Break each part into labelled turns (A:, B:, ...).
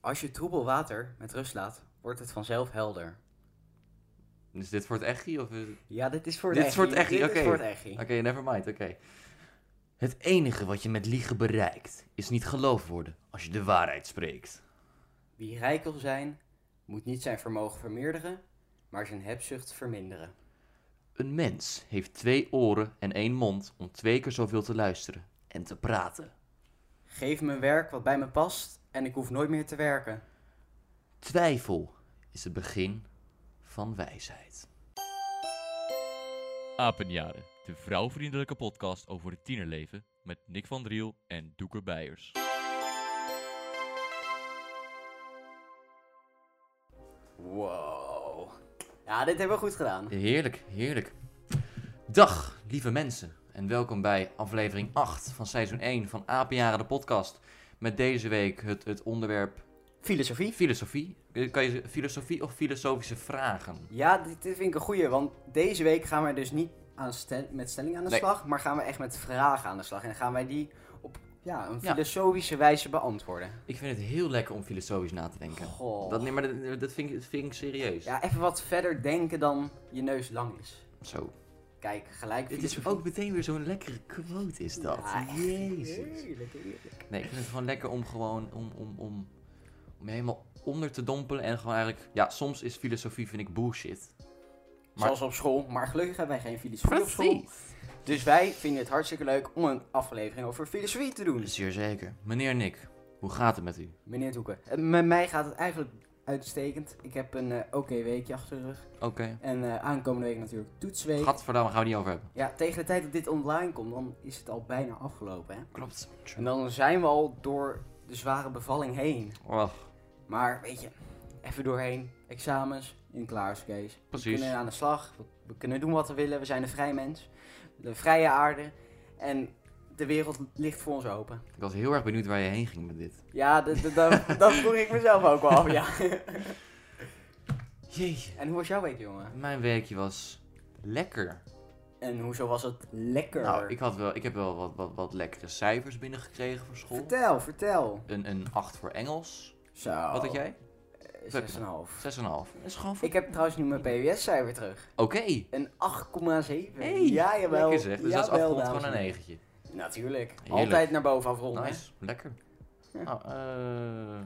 A: Als je troebel water met rust laat, wordt het vanzelf helder.
B: Is dit voor het echie? Of... is het-
A: Ja, dit is voor het
B: Dit is voor het
A: echie.
B: echie,
A: Dit is
B: oké.
A: voor het echie.
B: Oké, never mind, oké. Het enige wat je met liegen bereikt, is niet geloofd worden als je de waarheid spreekt.
A: Wie rijk wil zijn, moet niet zijn vermogen vermeerderen, maar zijn hebzucht verminderen.
B: Een mens heeft twee oren en één mond om twee keer zoveel te luisteren en te praten.
A: Geef me werk wat bij me past en ik hoef nooit meer te werken.
B: Twijfel is het begin van wijsheid.
C: Apenjaren, de vrouwvriendelijke podcast over het tienerleven met Nick van Driel en Doeker Beijers.
A: Wow. Ja, dit hebben we goed gedaan.
B: Heerlijk, heerlijk. Dag, lieve mensen. En welkom bij aflevering 8 van seizoen 1 van Apenjaren de podcast. Met deze week het, het onderwerp
A: Filosofie.
B: filosofie. Eh, Kan je filosofie of filosofische vragen?
A: Ja, dit, dit vind ik een goeie, want deze week gaan wij dus niet aan stel- met stelling aan de
B: Nee.
A: slag, maar gaan we echt met vragen aan de slag. En dan gaan wij die op ja, een
B: Ja.
A: filosofische wijze beantwoorden.
B: Ik vind het heel lekker om filosofisch na te denken.
A: Goh.
B: Dat, nee, maar dat, dat vind, ik- dat vind ik serieus.
A: Ja, even wat verder denken dan je neus lang is.
B: Zo.
A: Kijk, gelijk
B: Het is ook meteen weer zo'n lekkere quote, is dat?
A: Ja, echt.
B: Jezus.
A: Heerlijk, heerlijk.
B: Nee, ik vind het gewoon lekker om gewoon om, om, om, om je helemaal onder te dompelen en gewoon eigenlijk. Ja, soms is filosofie vind ik bullshit. Maar-
A: Zoals op school, maar gelukkig hebben wij geen filosofie op school. Dus wij vinden het hartstikke leuk om een aflevering over filosofie te doen.
B: Zeer zeker. Meneer Nick, hoe gaat het met u?
A: Meneer Doeken, eh, met mij gaat het eigenlijk uitstekend. Ik heb een eh, oké weekje achter de rug.
B: Oké.
A: En eh, aankomende week natuurlijk toetsweek.
B: Gadverdamme, gaan we niet over hebben.
A: Ja, tegen de tijd dat dit online komt, dan is het al bijna afgelopen. Hè?
B: Klopt.
A: En dan zijn we al door de zware bevalling heen.
B: Och,
A: Maar weet je, even doorheen. Examens, in klaarskees. We
B: Precies.
A: kunnen aan de slag, we, we kunnen doen wat we willen. We zijn een vrij mens, de vrije aarde. En de wereld ligt voor ons open.
B: ik was heel erg benieuwd waar je heen ging met dit.
A: Ja, d- d- dat- dat vroeg ik mezelf ook wel af, ja.
B: Jeetje.
A: En hoe was jouw week, jongen?
B: Mijn werkje was lekker.
A: En hoezo was het lekker?
B: Nou, ik, had wel, ik heb wel wat, wat, wat lekkere cijfers binnengekregen voor school.
A: Vertel, vertel.
B: Een, een 8 voor Engels.
A: Zo.
B: Wat had jij?
A: 6,5.
B: 6,5. Dat is gewoon voor...
A: Ik heb trouwens nu mijn PWS-cijfer terug.
B: Oké.
A: Een 8,7.
B: Hey,
A: ja, jawel.
B: Lekker zeg. Dus dat is
A: Jawel,
B: afgerond
A: dames
B: gewoon een
A: en heren.
B: negentje.
A: Natuurlijk.
B: Heerlijk.
A: Altijd naar boven afronden. hè?
B: Nice, lekker. Nou, eh,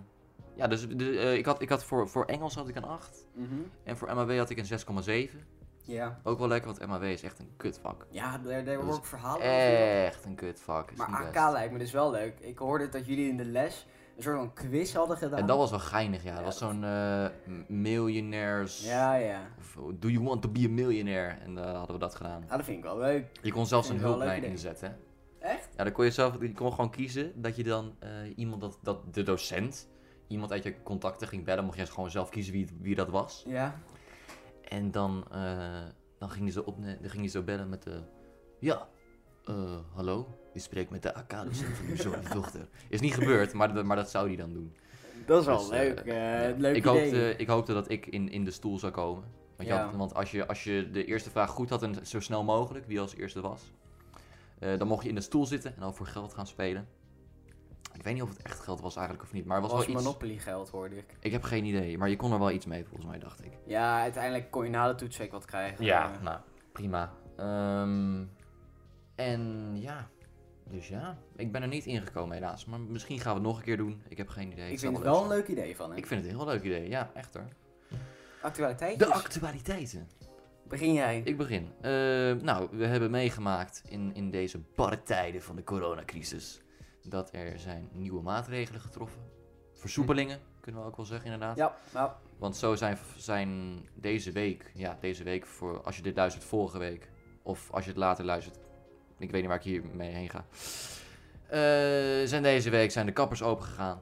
B: ja, dus, dus, eh, ik had, ik had voor, voor Engels had ik een 8.
A: Mhm.
B: En voor MAW had ik een 6,7.
A: Ja,
B: Ook wel lekker, want MAW is echt een kutvak.
A: ja daar, daar
B: Dat
A: hoor
B: is
A: ik verhalen over.
B: Echt een kutvak. Is
A: Maar
B: niet
A: AK
B: Dus eh, best.
A: lijkt me dus wel leuk. Ik hoorde dat jullie in de les een soort van quiz hadden gedaan.
B: En dat was wel geinig, ja.
A: Ja,
B: Dat was
A: dat-
B: zo'n eh, m- miljonairs...
A: Ja, ja. Nou,
B: Of, oh, do you want to be a millionaire? En eh, hadden we dat gedaan.
A: Ah, dat vind ik wel leuk.
B: Je kon zelfs
A: Vind
B: een
A: ik wel een leuk
B: hulplijn
A: idee.
B: inzetten. hè.
A: Echt?
B: Ja, dan kon je zelf je kon gewoon kiezen dat je dan eh, iemand, dat, dat de docent, iemand uit je contacten ging bellen. Mocht je gewoon zelf kiezen wie, wie dat was.
A: Ja.
B: En dan, eh, dan, ging je zo op, dan ging je zo bellen met de... Ja, eh, hallo, u spreekt met de AK-docent van uw zoon en dochter. Is niet gebeurd, maar, dat- maar dat zou die dan doen.
A: Dat is wel
B: Dus, eh,
A: leuk. eh,
B: Ja.
A: leuk
B: ik,
A: idee.
B: hoopte, ik hoopte dat ik in, in de stoel zou komen. Want, je
A: Ja.
B: had- want als, je, als je de eerste vraag goed had en zo snel mogelijk, wie als eerste was... eh, dan mocht je in de stoel zitten en dan voor geld gaan spelen. Ik weet niet of het echt geld was eigenlijk of niet, maar het
A: was,
B: was, wel iets...
A: Monopoly geld, hoorde ik.
B: Ik heb geen idee, maar je kon er wel iets mee volgens mij, dacht ik.
A: Ja, uiteindelijk kon je na de toetsweek wat krijgen.
B: Ja,
A: Eh,
B: nou, prima. Ehm, en ja, dus ja. Ik ben er niet ingekomen helaas. Maar misschien gaan we het nog een keer doen. Ik heb geen idee.
A: ik
B: zou
A: vind het wel een
B: zijn.
A: leuk idee van hem.
B: Ik vind het een heel leuk idee, ja, echt hoor.
A: Actualiteit.
B: De actualiteiten.
A: Begin jij.
B: Ik begin. Eh, nou, we hebben meegemaakt in, in deze barre tijden van de coronacrisis... dat er zijn nieuwe maatregelen getroffen. Versoepelingen, kunnen we ook wel zeggen inderdaad.
A: Ja, nou,
B: Want zo zijn, zijn deze week, ja, deze week voor als je dit luistert vorige week, of als je het later luistert, ik weet niet waar ik hier mee heen ga. Eh, zijn deze week zijn de kappers opengegaan.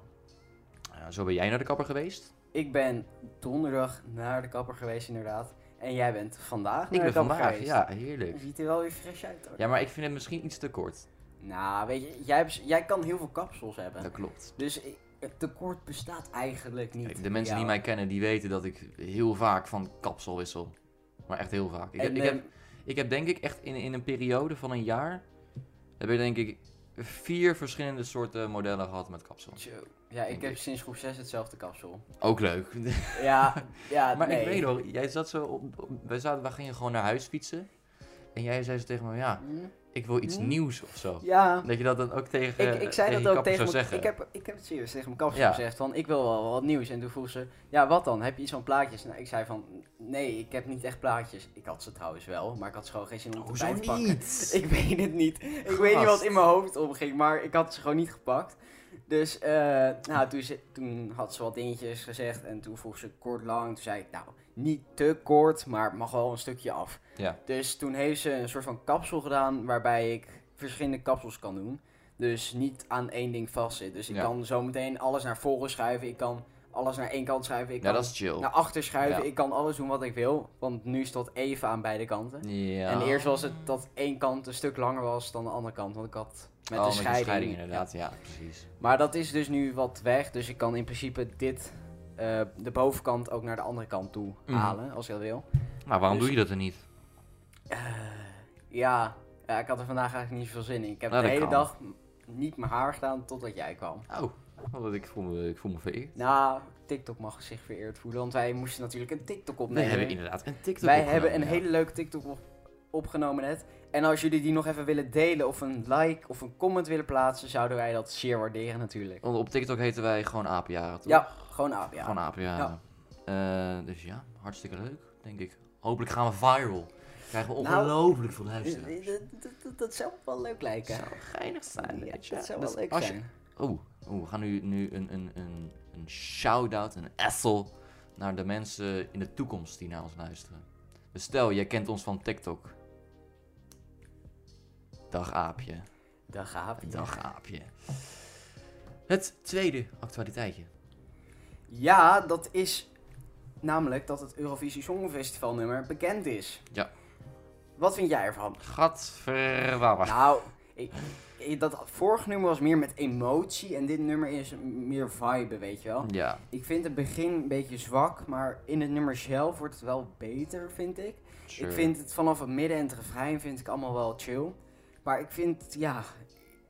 B: Ja, zo ben jij naar de kapper geweest.
A: ik ben donderdag naar de kapper geweest inderdaad. En jij bent vandaag naar
B: ik ben
A: de kapper
B: vandaag,
A: geweest.
B: ja,
A: Je
B: heerlijk.
A: ziet er wel weer fris uit hoor.
B: Ja, maar ik vind het misschien iets te kort.
A: Nou, weet je, jij, hebt- jij kan heel veel kapsels hebben.
B: Dat klopt.
A: Dus ik- het tekort bestaat eigenlijk niet.
B: De mensen die
A: Ja.
B: mij kennen, die weten dat ik heel vaak van kapsel wissel. Maar echt heel vaak. Ik,
A: En,
B: heb- ik
A: eh,
B: heb Ik heb denk ik echt in, in een periode van een jaar. Heb ik denk ik vier verschillende soorten modellen gehad met kapsels.
A: Zo. Ja, ik
B: Denk
A: heb
B: ik.
A: sinds groep 6 hetzelfde kapsel.
B: Ook leuk.
A: Ja, ja
B: maar
A: nee.
B: ik weet nog, jij zat zo op, op- wij, zaten, wij gingen gewoon naar huis fietsen. En jij zei ze tegen me, ja,
A: Hm?
B: ik wil iets
A: Hmm.
B: nieuws of zo.
A: Ja,
B: Dat je dat dan ook tegen
A: ik, ik zei
B: eh, je
A: dat ook
B: kapper
A: tegen mijn...
B: zou zeggen.
A: Ik heb, ik heb het serieus tegen mijn kapsel
B: Ja.
A: gezegd van, ik wil wel wat nieuws. En toen vroeg ze, ja wat dan? Heb je iets van plaatjes? Nou, ik zei van, nee, ik heb niet echt plaatjes. Ik had ze trouwens wel, maar ik had ze gewoon geen zin om erbij
B: Nou, Hoezo
A: te pakken.
B: niet?
A: Ik weet het niet. Ik weet niet wat in mijn hoofd omging, maar ik had ze gewoon niet gepakt. Dus eh, nou, toen, ze- toen had ze wat dingetjes gezegd en toen vroeg ze kort lang. Toen zei ik, nou, niet te kort, maar het mag wel een stukje af.
B: Ja.
A: Dus toen heeft ze een soort van kapsel gedaan waarbij ik verschillende kapsels kan doen. Dus niet aan één ding vastzit. Dus ik
B: Ja.
A: kan zo meteen alles naar voren schuiven. Ik kan alles naar één kant schuiven. Ik
B: Ja,
A: kan
B: dat is chill.
A: naar achter schuiven.
B: Ja.
A: Ik kan alles doen wat ik wil. Want nu staat even aan beide kanten.
B: ja.
A: En eerst was het dat één kant een stuk langer was dan de andere kant. Want ik had met
B: Oh,
A: de scheiding.
B: inderdaad, ja, precies.
A: Ja. Maar dat is dus nu wat weg. Dus ik kan in principe dit, eh, de bovenkant, ook naar de andere kant toe
B: Mhm.
A: halen. Als je dat wil.
B: Maar waarom
A: Dus-
B: doe je dat dan niet?
A: Ja, ja, ik had er vandaag eigenlijk niet veel zin in. Ik heb
B: Nou,
A: de
B: dat
A: hele
B: kan.
A: dag m- niet mijn haar gedaan totdat jij kwam.
B: Oh, want ik voel me, ik voel me vereerd.
A: Nou, TikTok mag zich vereerd voelen. Want wij moesten natuurlijk een TikTok
B: Nee,
A: opnemen.
B: hebben inderdaad een TikTok
A: Wij
B: opgenomen,
A: hebben een
B: ja.
A: hele leuke TikTok op- opgenomen net. En als jullie die nog even willen delen of een like of een comment willen plaatsen, zouden wij dat zeer waarderen natuurlijk.
B: Want op TikTok heten wij gewoon apenjaren, toch?
A: Ja, gewoon af, ja.
B: Gewoon apenjaren. Eh, dus ja, hartstikke leuk, denk ik. Hopelijk gaan we viral. Krijgen we
A: Nou,
B: ongelooflijk veel
A: Eh, eh,
B: luisteraars.
A: dat- dat- dat- Dat zou wel leuk lijken.
B: zou geinig zijn,
A: Ja,
B: weet je.
A: dat zou
B: Dat
A: wel leuk
B: als je-
A: zijn.
B: Oeh, oeh, we gaan nu, nu een, een, een, een shout-out, een essel naar de mensen in de toekomst die naar ons luisteren. Dus stel, jij kent ons van TikTok. Dag aapje,
A: Dan gaaf.
B: dag aapje. Het tweede actualiteitje.
A: Ja, dat is namelijk dat het Eurovisie Songfestival nummer bekend is.
B: Ja.
A: Wat vind jij ervan?
B: Gadverdamme.
A: Nou, ik, ik- dat vorige nummer was meer met emotie en dit nummer is meer vibe, weet je wel.
B: Ja,
A: Ik vind het begin een beetje zwak, maar in het nummer zelf wordt het wel beter, vind ik.
B: sure.
A: Ik vind het vanaf het midden en het refrein vind ik allemaal wel chill. Maar ik vind, ja,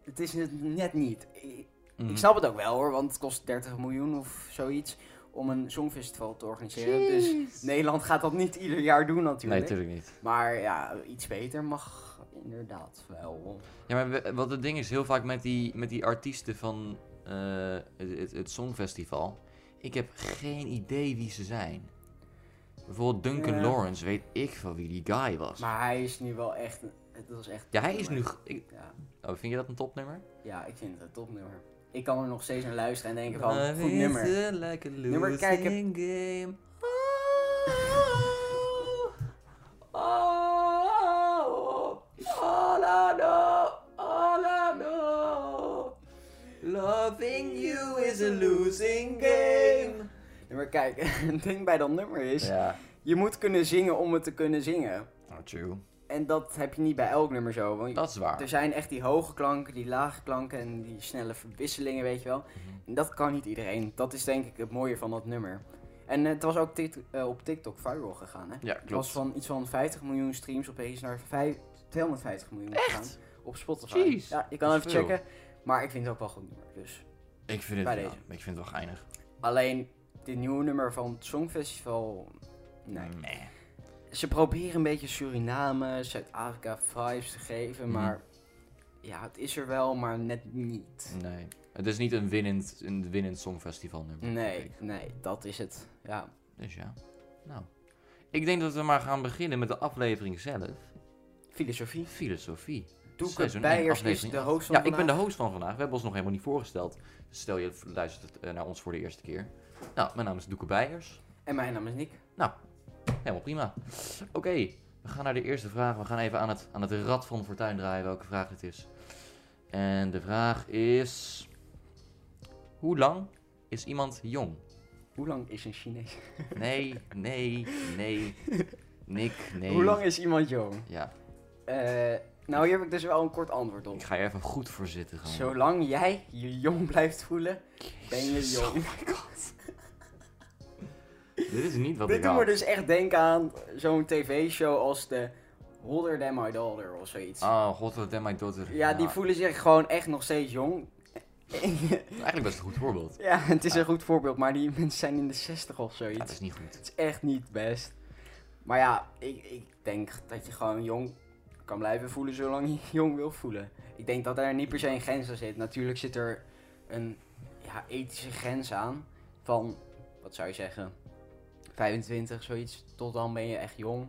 A: het is het net niet. Ik,
B: Mhm.
A: ik snap het ook wel hoor, want het kost 30 miljoen of zoiets om een songfestival te organiseren. Dus Nederland gaat dat niet ieder jaar doen
B: Nee,
A: natuurlijk.
B: natuurlijk niet.
A: maar ja, iets beter mag inderdaad wel.
B: Ja, maar we- wat het ding is, heel vaak met die, met die artiesten van eh, het, het, het Songfestival. Ik heb geen idee wie ze zijn. Bijvoorbeeld Duncan
A: Ja.
B: Lawrence, weet ik van wie die guy was.
A: Maar hij is nu wel echt, dat is echt...
B: ja, hij is nu... g- ik-
A: Ja.
B: oh, vind je dat een topnummer?
A: Ja, ik vind het een topnummer. Ik kan er nog steeds naar luisteren en denken van, goed nummer.
B: Like a
A: Nummer, kijk, ik heb-
B: losing game. Oh, oh, oh, all I know, all I know. Loving you is a losing game.
A: Ja, maar kijk, het ding bij dat nummer is,
B: Ja,
A: je moet kunnen zingen om het te kunnen zingen.
B: Oh, true.
A: En dat heb je niet bij elk nummer zo. Want
B: Dat is
A: er
B: waar.
A: zijn echt die hoge klanken, die lage klanken en die snelle verwisselingen, weet je wel.
B: Mhm.
A: En dat kan niet iedereen. Dat is denk ik het mooie van dat nummer. En eh, het was ook tik- eh, op TikTok viral gegaan, hè?
B: Ja,
A: Het was
B: klopt.
A: van iets van 50 miljoen streams opeens naar vijf- 250 miljoen gegaan. Op Spotify.
B: Jeez,
A: ja, je kan
B: dat is
A: even
B: veel.
A: checken. Maar ik vind het ook wel een goed nummer, dus...
B: Ik vind het,
A: Bij
B: ja,
A: deze.
B: ik vind het wel geinig.
A: Alleen dit nieuwe nummer van het Songfestival. Nee.
B: Nee.
A: Ze proberen een beetje Suriname, Zuid-Afrika vibes te geven,
B: Mhm.
A: maar ja, het is er wel, maar net niet.
B: Nee. Het is niet een winnend, een winnend songfestival nummer.
A: Nee, nee, dat is het. Ja.
B: Dus ja. Nou. Ik denk dat we maar gaan beginnen met de aflevering zelf.
A: Filosofie.
B: Filosofie.
A: Doeke
B: Seizoen
A: Bijers
B: één,
A: is
B: aflevering
A: de
B: acht.
A: host van
B: Ja, ik ben de
A: vandaag.
B: host van vandaag. We hebben ons nog helemaal niet voorgesteld. Dus stel je luistert eh, naar ons voor de eerste keer. Nou, mijn naam is Doeke Bijers.
A: En mijn naam is Nick.
B: Helemaal prima. Oké, we gaan naar de eerste vraag. We gaan even aan het, aan het rad van Fortuin draaien welke vraag dit is. En de vraag is... Hoe lang is iemand jong?
A: Hoe lang is een Chinees?
B: Nee, nee, nee. Nick, nee.
A: Hoe lang is iemand jong?
B: Ja,
A: Eh, nou, hier heb ik dus wel een kort antwoord op.
B: ik ga je even goed voor zitten. Gewoon.
A: Zolang jij je jong blijft voelen, ben je
B: Jezus,
A: jong.
B: Oh my god. Dit is niet wat
A: Dit
B: ik
A: doet dus
B: had.
A: me dus echt denken aan zo'n tv-show als de Holder than my daughter of zoiets.
B: Oh, god, dat my daughter.
A: Ah, Ja, die voelen zich gewoon echt nog steeds jong.
B: Eigenlijk best een goed voorbeeld.
A: ja, het is een goed voorbeeld, maar die mensen zijn in de 60 of
B: Ja,
A: zoiets.
B: het is niet goed.
A: Het is echt niet best. Maar ja, ik, ik denk dat je gewoon jong kan blijven voelen zolang je jong wil voelen. Ik denk dat daar niet per se een grens aan zit. Natuurlijk zit er een ja, ethische grens aan van, wat zou je zeggen, 25, zoiets. Tot dan ben je echt jong.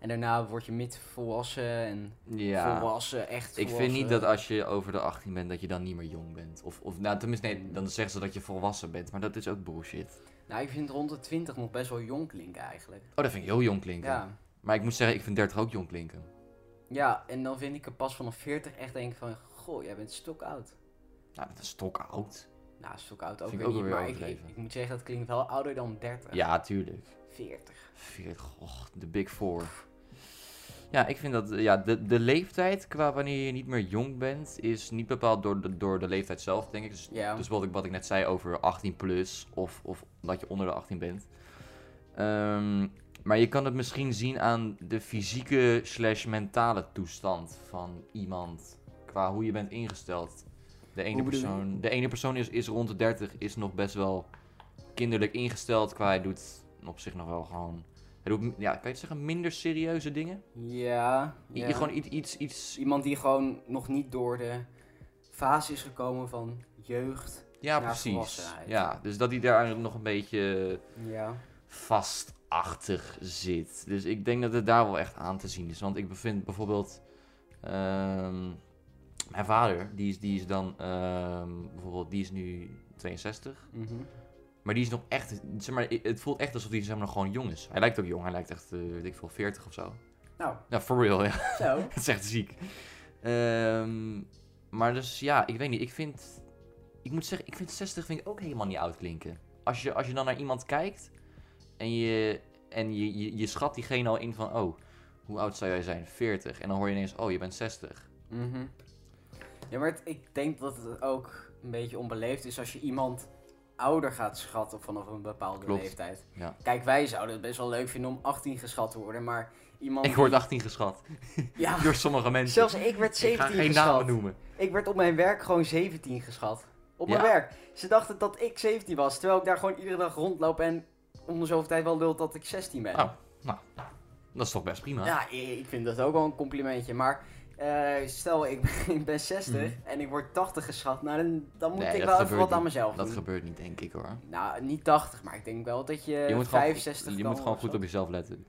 A: En daarna word je midvolwassen en
B: Ja.
A: volwassen, echt
B: Ik vind
A: eh,
B: niet dat als je over de 18 bent, dat je dan niet meer jong bent. Of, of nou, tenminste, nee, dan zeggen ze dat je volwassen bent. Maar dat is ook bullshit.
A: Nou, ik vind rond de 20 nog best wel jong klinken eigenlijk.
B: Oh, dat vind ik heel jong klinken.
A: Ja.
B: Maar ik moet zeggen, ik vind 30 ook jong klinken.
A: Ja, en dan vind ik er pas vanaf 40 echt denk van, goh, jij bent stokoud.
B: Nou, dat is stokoud.
A: Nou, stokoud ook
B: Vind
A: weer
B: ik ook
A: niet,
B: wel weer
A: maar ik, ik,
B: overdreven.
A: ik moet zeggen, dat klinkt wel ouder dan 30.
B: Ja, tuurlijk.
A: 40.
B: 40, och, de Big Four. Ja, ik vind dat eh, ja, de, de leeftijd qua wanneer je niet meer jong bent, is niet bepaald door de, door de leeftijd zelf, denk ik. Dus,
A: Ja.
B: dus wat, ik, wat ik net zei over 18 plus of, of dat je onder de 18 bent. Ehm, maar je kan het misschien zien aan de fysieke slash mentale toestand van iemand. Qua hoe je bent ingesteld. De ene
A: Hoe bedoel je?
B: persoon, de ene persoon is, is rond de 30, is nog best wel kinderlijk ingesteld. Qua hij doet op zich nog wel gewoon. Hij doet, ja, kan je het zeggen, minder serieuze dingen?
A: Ja,
B: I-
A: ja.
B: Gewoon iets, iets, iets.
A: Iemand die gewoon nog niet door de fase is gekomen van jeugd.
B: Ja,
A: Ja,
B: precies.
A: volwassenheid.
B: Ja, dus dat hij daar nog een beetje
A: Ja.
B: vastachtig zit. Dus ik denk dat het daar wel echt aan te zien is. Want ik bevind bijvoorbeeld. ehm, mijn vader, die is, die is dan. ehm, bijvoorbeeld, die is nu 62.
A: Mhm.
B: Maar die is nog echt. Zeg maar, het voelt echt alsof hij zeg maar, nog gewoon jong is. Hij lijkt ook jong. Hij lijkt echt, eh, weet ik veel, 40 of zo.
A: Nou,
B: Ja, for real, ja.
A: zo.
B: Het is echt ziek. Ehm, maar dus ja, ik weet niet. Ik vind. Ik moet zeggen, ik vind 60 vind ik ook helemaal niet oud klinken. Als je, als je dan naar iemand kijkt en, je, en je, je, je schat diegene al in van, oh, hoe oud zou jij zijn? 40. En dan hoor je ineens, oh, je bent 60.
A: Mhm. Ja, maar het- ik denk dat het ook een beetje onbeleefd is als je iemand ouder gaat schatten vanaf een bepaalde
B: Klopt.
A: leeftijd.
B: Ja.
A: Kijk, wij zouden het best wel leuk vinden om 18 geschat te worden, maar iemand...
B: Ik word 18 geschat
A: Ja,
B: door sommige mensen.
A: zelfs ik werd
B: ik
A: 17
B: ga geen
A: geschat.
B: namen noemen.
A: Ik werd op mijn werk gewoon 17 geschat. Op mijn
B: Ja.
A: werk. Ze dachten dat ik 17 was, terwijl ik daar gewoon iedere dag rondloop en om de zoveel tijd wel lult dat ik 16 ben.
B: Oh, nou, dat is toch best prima.
A: Ja, i- ik vind dat ook wel een complimentje, maar eh, stel ik ben, ik ben 60 en ik word 80 geschat, nou dan, dan moet
B: Mhm. Nee,
A: ik
B: dat
A: wel even
B: gebeurt
A: wat aan
B: niet.
A: mezelf
B: Dat
A: doen.
B: gebeurt niet, denk ik hoor.
A: Nou, niet 80, maar ik denk wel dat je,
B: Je moet gewoon,
A: 65
B: je
A: kan
B: moet gewoon
A: of zo.
B: goed op jezelf letten.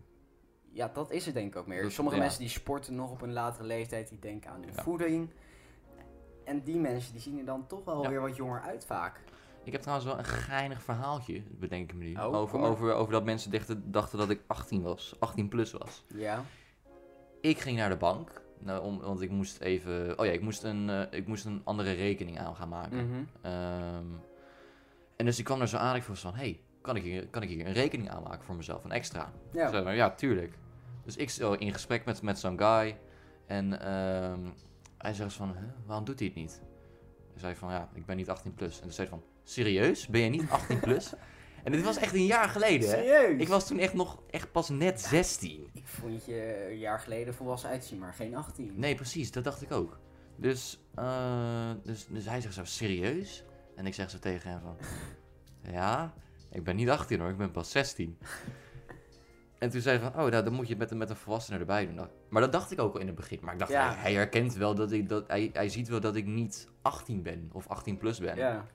A: Ja, dat is het denk ik ook meer.
B: Dat-
A: Sommige
B: ja.
A: mensen die sporten nog op een latere leeftijd, die denken aan hun
B: Ja.
A: voeding. En die mensen die zien er dan toch wel
B: Ja.
A: weer wat jonger uit vaak.
B: Ik heb trouwens wel een geinig verhaaltje, bedenk ik me nu.
A: Oh,
B: over,
A: kom maar.
B: over, over dat mensen dachten, dachten dat ik 18 was, 18 plus was.
A: Ja.
B: Ik ging naar de bank, nou, om, want ik moest even... Oh ja, ik moest een, eh, ik moest een andere rekening aan gaan maken.
A: Mhm.
B: Ehm, en dus ik kwam er zo aan, ik vroeg van... Hé, hey, kan, ik hier- kan ik hier een rekening aanmaken voor mezelf, een extra?
A: Ja.
B: Zei hij, ja, tuurlijk. Dus ik stel in gesprek met, met zo'n guy. En ehm, hij zegt van, "Huh, waarom doet hij het niet? Hij zei van, ja, ik ben niet 18 plus. En toen zei hij van, serieus? Ben je niet 18 plus? en dit was echt een jaar geleden, hè?
A: Serieus?
B: Ik was toen echt nog, echt pas net 16.
A: Ik vond je eh, een jaar geleden volwassen uitzien, maar geen 18.
B: Nee, precies, dat dacht ik ook. Dus, eh, dus, dus hij zegt zo, serieus? En ik zeg zo tegen hem van, ja, ik ben niet 18 hoor, ik ben pas 16. En toen zei hij van, oh, nou, dan moet je het met, een- met een volwassene erbij doen. Nou, Maar dat dacht ik ook al in het begin. Maar ik dacht,
A: Ja.
B: hij, hij herkent wel dat ik, dat, hij, hij ziet wel dat ik niet 18 ben of 18 plus ben.
A: Ja.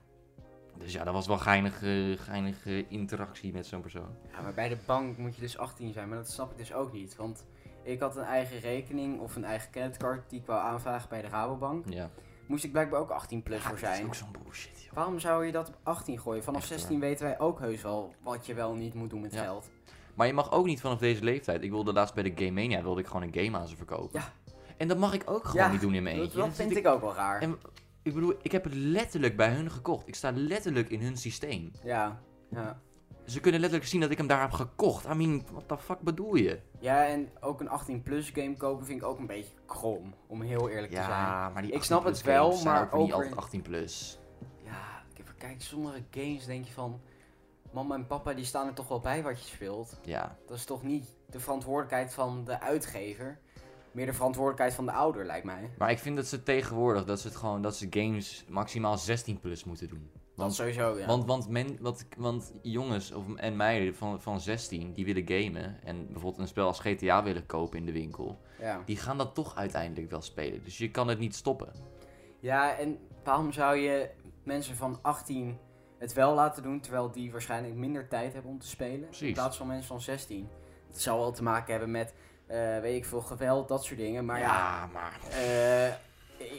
B: Dus ja, dat was wel geinige, geinige interactie met zo'n persoon.
A: ja, maar bij de bank moet je dus 18 zijn, maar dat snap ik dus ook niet. Want ik had een eigen rekening of een eigen creditcard die ik wou aanvragen bij de Rabobank.
B: Ja.
A: Moest ik blijkbaar ook 18 plus
B: Ja,
A: voor
B: Dat is
A: zijn.
B: ook zo'n bullshit, joh.
A: Waarom zou je dat op 18 gooien? Vanaf
B: Echt waar.
A: 16 weten wij ook heus wel wat je wel niet moet doen met
B: Ja.
A: geld.
B: Maar je mag ook niet vanaf deze leeftijd. Ik wilde laatst bij de Game Mania wilde ik gewoon een game aan ze verkopen.
A: Ja.
B: En dat mag ik ook gewoon
A: Ja,
B: niet doen in mijn
A: Dat,
B: eentje.
A: dat
B: Dan zit
A: vind
B: ik...
A: ik ook wel raar.
B: En- ik bedoel, ik heb het letterlijk bij hun gekocht. Ik sta letterlijk in hun systeem.
A: Ja. ja.
B: Ze kunnen letterlijk zien dat ik hem daar heb gekocht. I mean, what the fuck bedoel je?
A: Ja, en ook een 18 plus game kopen vind ik ook een beetje krom, om heel eerlijk te zijn.
B: maar die
A: Ik snap
B: 18
A: het wel,
B: games zijn
A: maar
B: ook niet
A: ook
B: altijd
A: weer-
B: 18 plus.
A: Ja, ik heb kijk, sommige games denk je van. Mama en papa die staan er toch wel bij wat je speelt.
B: Ja.
A: Dat is toch niet de verantwoordelijkheid van de uitgever. meer de verantwoordelijkheid van de ouder, lijkt mij.
B: Maar ik vind dat ze tegenwoordig, dat ze, het gewoon, dat ze games maximaal 16 plus moeten doen.
A: Dat
B: Want,
A: sowieso, ja.
B: want, want, men, wat, want jongens of, en meiden van, van 16 die willen gamen en bijvoorbeeld een spel als GTA willen kopen in de winkel,
A: ja.
B: die gaan dat toch uiteindelijk wel spelen. Dus je kan het niet stoppen.
A: ja, en waarom zou je mensen van 18 het wel laten doen, terwijl die waarschijnlijk minder tijd hebben om te spelen?
B: Precies.
A: In plaats van mensen van 16. Het zou wel te maken hebben met, eh, weet ik veel, geweld, dat soort dingen. Maar ja,
B: maar.
A: Eh,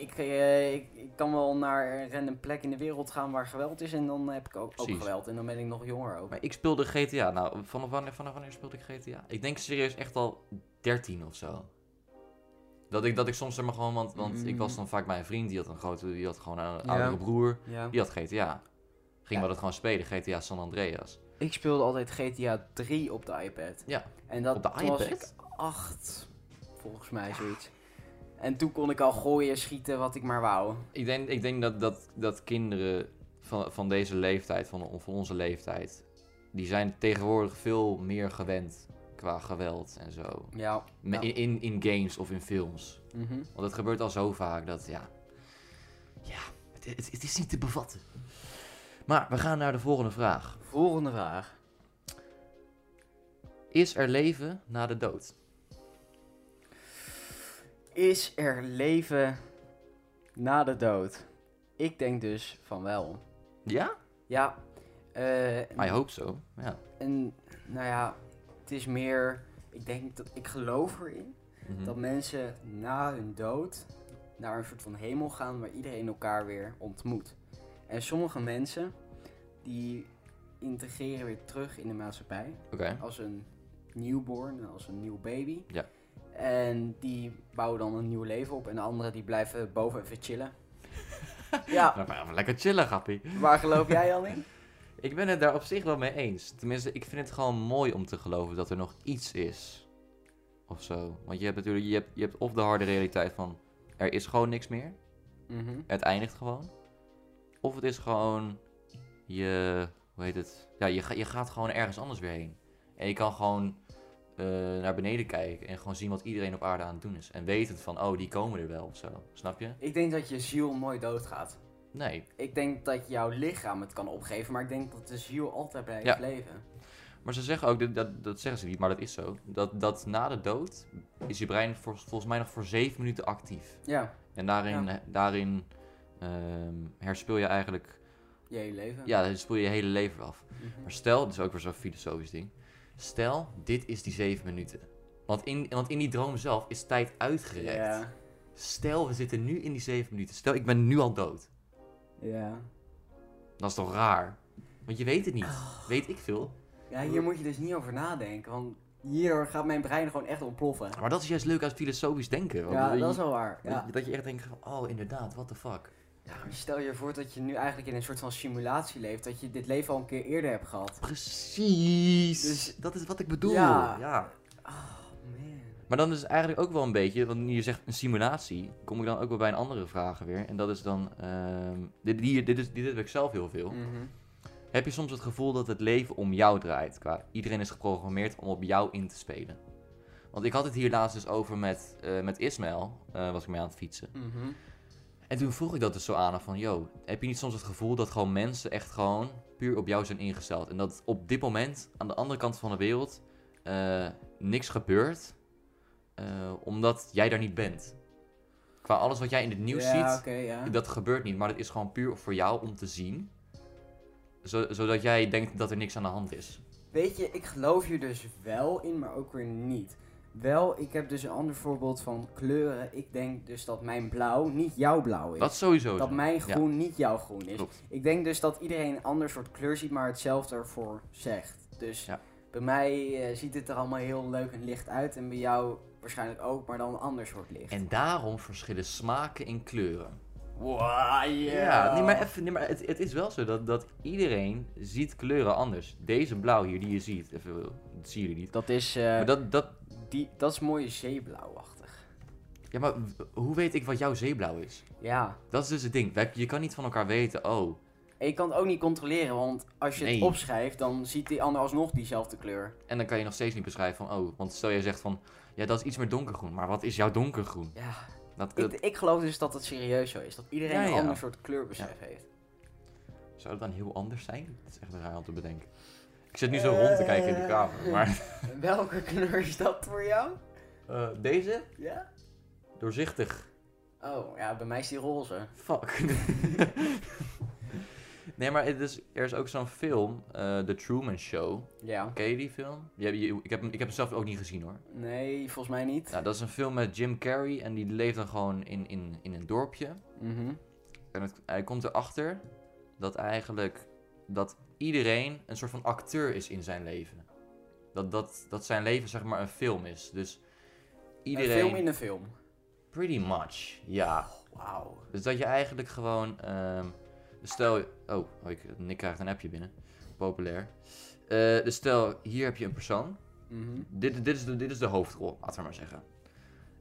A: ik, eh, ik, ik kan wel naar een random plek in de wereld gaan waar geweld is en dan heb ik ook, ook
B: Precies.
A: geweld. En dan ben ik nog jonger ook.
B: Maar ik speelde GTA. Nou, vanaf wanneer, vanaf wanneer speelde ik GTA? Ik denk serieus echt al 13 of zo. Dat ik, dat ik soms er maar gewoon, want, want ik
A: Mm.
B: was dan vaak bij een vriend die had een grote, die had gewoon een
D: Ja.
B: oudere broer.
A: Ja.
B: Die had GTA.
A: Ja.
B: Gingen we dat gewoon spelen, GTA San Andreas.
A: Ik speelde altijd GTA 3 op de iPad.
B: Ja.
A: En dat
B: Op de
A: toen was
B: iPad?
A: ik 8, volgens mij zoiets. En toen kon ik al gooien, schieten, wat ik maar wou.
B: Ik denk, ik denk dat, dat, dat kinderen van, van deze leeftijd, van, van onze leeftijd, die zijn tegenwoordig veel meer gewend qua geweld en zo.
A: Ja.
B: Me-
A: Ja.
B: In, in, in games of in films.
A: Mhm.
B: Want het gebeurt al zo vaak dat, ja... Ja, het, het, het is niet te bevatten. Maar we gaan naar de volgende vraag.
A: Volgende vraag.
B: Is er leven na de dood?
A: Is er leven na de dood? Ik denk dus van wel.
B: Ja?
A: Ja. eh,
B: I hope so. Ja.
A: En nou ja, het is meer. Ik denk dat ik geloof erin
B: Mhm.
A: dat mensen na hun dood naar een soort van hemel gaan waar iedereen elkaar weer ontmoet. En sommige mensen die integreren weer terug in de maatschappij
B: Oké.
A: als een newborn, als een nieuw baby.
B: Ja.
A: En die bouwen dan een nieuw leven op en de anderen die blijven boven even chillen. ja,
B: Nou, maar even lekker chillen, grappie.
A: waar geloof jij dan in?
B: Ik ben het daar op zich wel mee eens. Tenminste, ik vind het gewoon mooi om te geloven dat er nog iets is. Of zo. Want je hebt natuurlijk, je hebt, je hebt of de harde realiteit van er is gewoon niks meer.
A: Mhm.
B: Het eindigt gewoon. Of het is gewoon je, hoe heet het? Ja, je, ga- je gaat gewoon ergens anders weer heen. En je kan gewoon eh, naar beneden kijken en gewoon zien wat iedereen op aarde aan het doen is. En wetend van, oh, die komen er wel of zo. Snap je?
A: Ik denk dat je ziel mooi doodgaat.
B: Nee.
A: Ik denk dat jouw lichaam het kan opgeven, maar ik denk dat de ziel altijd blijft
B: Ja.
A: leven.
B: Maar ze zeggen ook, dat- dat, dat zeggen ze niet, maar dat is zo. Dat, dat na de dood is je brein vol- volgens mij nog voor zeven minuten actief.
A: Ja,
B: En daarin, eh, daarin ehm, herspeel je eigenlijk,
A: je hele leven.
B: ja, dan speel je je hele leven af.
A: Mhm.
B: Maar stel, dat is ook weer zo'n filosofisch ding. Stel, dit is die zeven minuten. Want in, want in die droom zelf is tijd uitgerekt.
A: Ja,
B: Stel, we zitten nu in die zeven minuten. Stel, ik ben nu al dood.
A: ja.
B: Dat is toch raar? Want je weet het niet.
A: Oh.
B: Weet ik veel.
A: Ja, hier moet je dus niet over nadenken, want hierdoor gaat mijn brein gewoon echt ontploffen.
B: Maar dat is juist leuk aan filosofisch denken. want
A: Ja,
B: je-
A: dat is wel waar.
B: Dat-
A: Ja.
B: Dat je echt denkt van, oh inderdaad, what the fuck.
A: Ja, maar stel je voor dat je nu eigenlijk in een soort van simulatie leeft, dat je dit leven al een keer eerder hebt gehad.
B: Precies.
A: Dus-
B: dat is wat ik bedoel.
A: Ja. Oh man.
B: Maar dan is het eigenlijk ook wel een beetje, want nu je zegt een simulatie, kom ik dan ook wel bij een andere vraag weer. En dat is dan, ehm, dit, hier, dit, is, dit heb ik zelf heel veel.
A: Mhm.
B: Heb je soms het gevoel dat het leven om jou draait? Qua, iedereen is geprogrammeerd om op jou in te spelen. Want ik had het hier laatst dus over met, eh, met Ismaël, eh, was ik mee aan het fietsen.
A: Mhm.
B: En toen vroeg ik dat dus zo aan hem van, yo, heb je niet soms het gevoel dat gewoon mensen echt gewoon puur op jou zijn ingesteld? En dat op dit moment, aan de andere kant van de wereld, eh, niks gebeurt, eh, omdat jij daar niet bent. Qua alles wat jij in het nieuws
A: Ja,
B: ziet,
A: oké, ja.
B: dat gebeurt niet, maar het is gewoon puur voor jou om te zien. Zo- zodat jij denkt dat er niks aan de hand is.
A: Weet je, ik geloof hier dus wel in, maar ook weer niet. Wel, ik heb dus een ander voorbeeld van kleuren. Ik denk dus dat mijn blauw niet jouw blauw is.
B: Dat sowieso.
A: dat
B: zo.
A: mijn
B: Ja,
A: groen niet jouw groen is.
B: klopt.
A: Ik denk dus dat iedereen een ander soort kleur ziet, maar hetzelfde ervoor zegt. Dus
B: Ja.
A: bij mij eh, ziet het er allemaal heel leuk en licht uit. En bij jou waarschijnlijk ook, maar dan een ander soort licht.
B: En daarom verschillen smaken in kleuren.
A: Wow,
B: Ja, nee, maar, even, nee, maar het, het is wel zo dat, dat iedereen ziet kleuren anders. Deze blauw hier die je ziet, even, dat zien jullie niet.
A: Dat is, eh,
B: Maar dat, dat,
A: die, dat is mooi zeeblauwachtig.
B: ja, maar w- hoe weet ik wat jouw zeeblauw is?
A: Ja,
B: Dat is dus het ding. Wij- Je kan niet van elkaar weten, oh,
A: En je kan het ook niet controleren, want als je het
B: Nee.
A: opschrijft, dan ziet die ander alsnog diezelfde kleur.
B: En dan kan je nog steeds niet beschrijven van, oh, want stel jij zegt van, ja, dat is iets meer donkergroen. Maar wat is jouw donkergroen?
A: Ja,
B: Dat,
A: ik,
B: dat-
A: ik geloof dus dat het serieus zo is. Dat iedereen
B: Ja,
A: een
B: ja.
A: ander soort kleurbesef heeft.
B: Zou dat dan heel anders zijn? Dat is echt raar om te bedenken. Ik zit nu zo rond te kijken in de kamer, maar...
A: Eh, Welke kleur is dat voor jou?
B: Eh, deze?
A: Ja?
B: Doorzichtig.
A: Oh, ja, bij mij is die roze.
B: Fuck. nee, maar het is, er is ook zo'n film, eh, The Truman Show.
A: Ja.
B: Ken je die film? Die heb je- ik, heb, hem- ik heb hem zelf ook niet gezien hoor.
A: Nee, volgens mij niet.
B: Nou, dat is een film met Jim Carrey en die leeft dan gewoon in, in, in een dorpje.
A: Mhm.
B: En het- hij komt erachter dat eigenlijk dat iedereen een soort van acteur is in zijn leven. Dat, dat, dat zijn leven zeg maar een film is. Dus iedereen...
A: Een film in een film.
B: Pretty much, ja.
A: Wauw.
B: Dus dat je eigenlijk gewoon... ehm, stel... Oh, oh, ik, Nick krijgt een appje binnen. Populair. Eh, dus stel, hier heb je een persoon.
A: Mhm.
B: Dit, dit, is de, dit is de hoofdrol, laten we maar zeggen.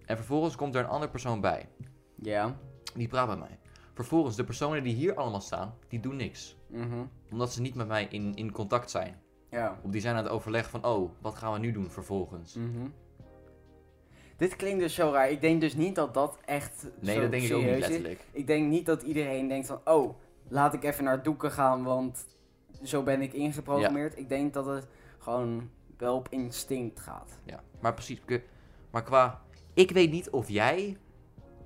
B: En vervolgens komt er een andere persoon bij.
A: Ja.
B: Die praat met mij. Vervolgens, de personen die hier allemaal staan, die doen niks.
A: Mhm.
B: Omdat ze niet met mij in, in contact zijn.
A: Ja.
B: Of die zijn aan het overleg van, oh, wat gaan we nu doen vervolgens?
A: Mhm. Dit klinkt dus zo raar. Ik denk dus niet dat dat echt.
B: Nee,
A: zo
B: dat denk ik ook niet
A: serieus is.
B: letterlijk.
A: Ik denk niet dat iedereen denkt van, oh, laat ik even naar Doeken gaan, want zo ben ik ingeprogrammeerd. Ik denk dat het gewoon wel op instinct gaat.
B: Ja, maar precies. ik- Maar qua, ik weet niet of jij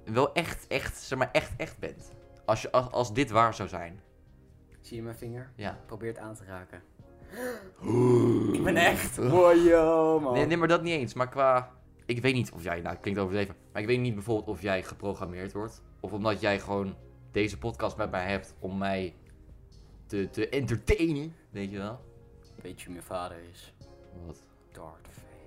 B: wel echt, echt, zeg maar echt, echt bent. Als, je, als, als dit waar zou zijn.
A: Zie je mijn vinger?
B: Ja.
A: Probeer het aan te raken. Ik ben echt. Wow, yo, man.
B: Nee, nee, maar dat niet eens. Maar qua... Ik weet niet of jij... Nou, het klinkt overdreven. Maar ik weet niet bijvoorbeeld of jij geprogrammeerd wordt. Of omdat jij gewoon deze podcast met mij hebt om mij te, te entertainen. Weet je wel?
A: Weet je, mijn vader is
B: Wat?
A: Darth Vader.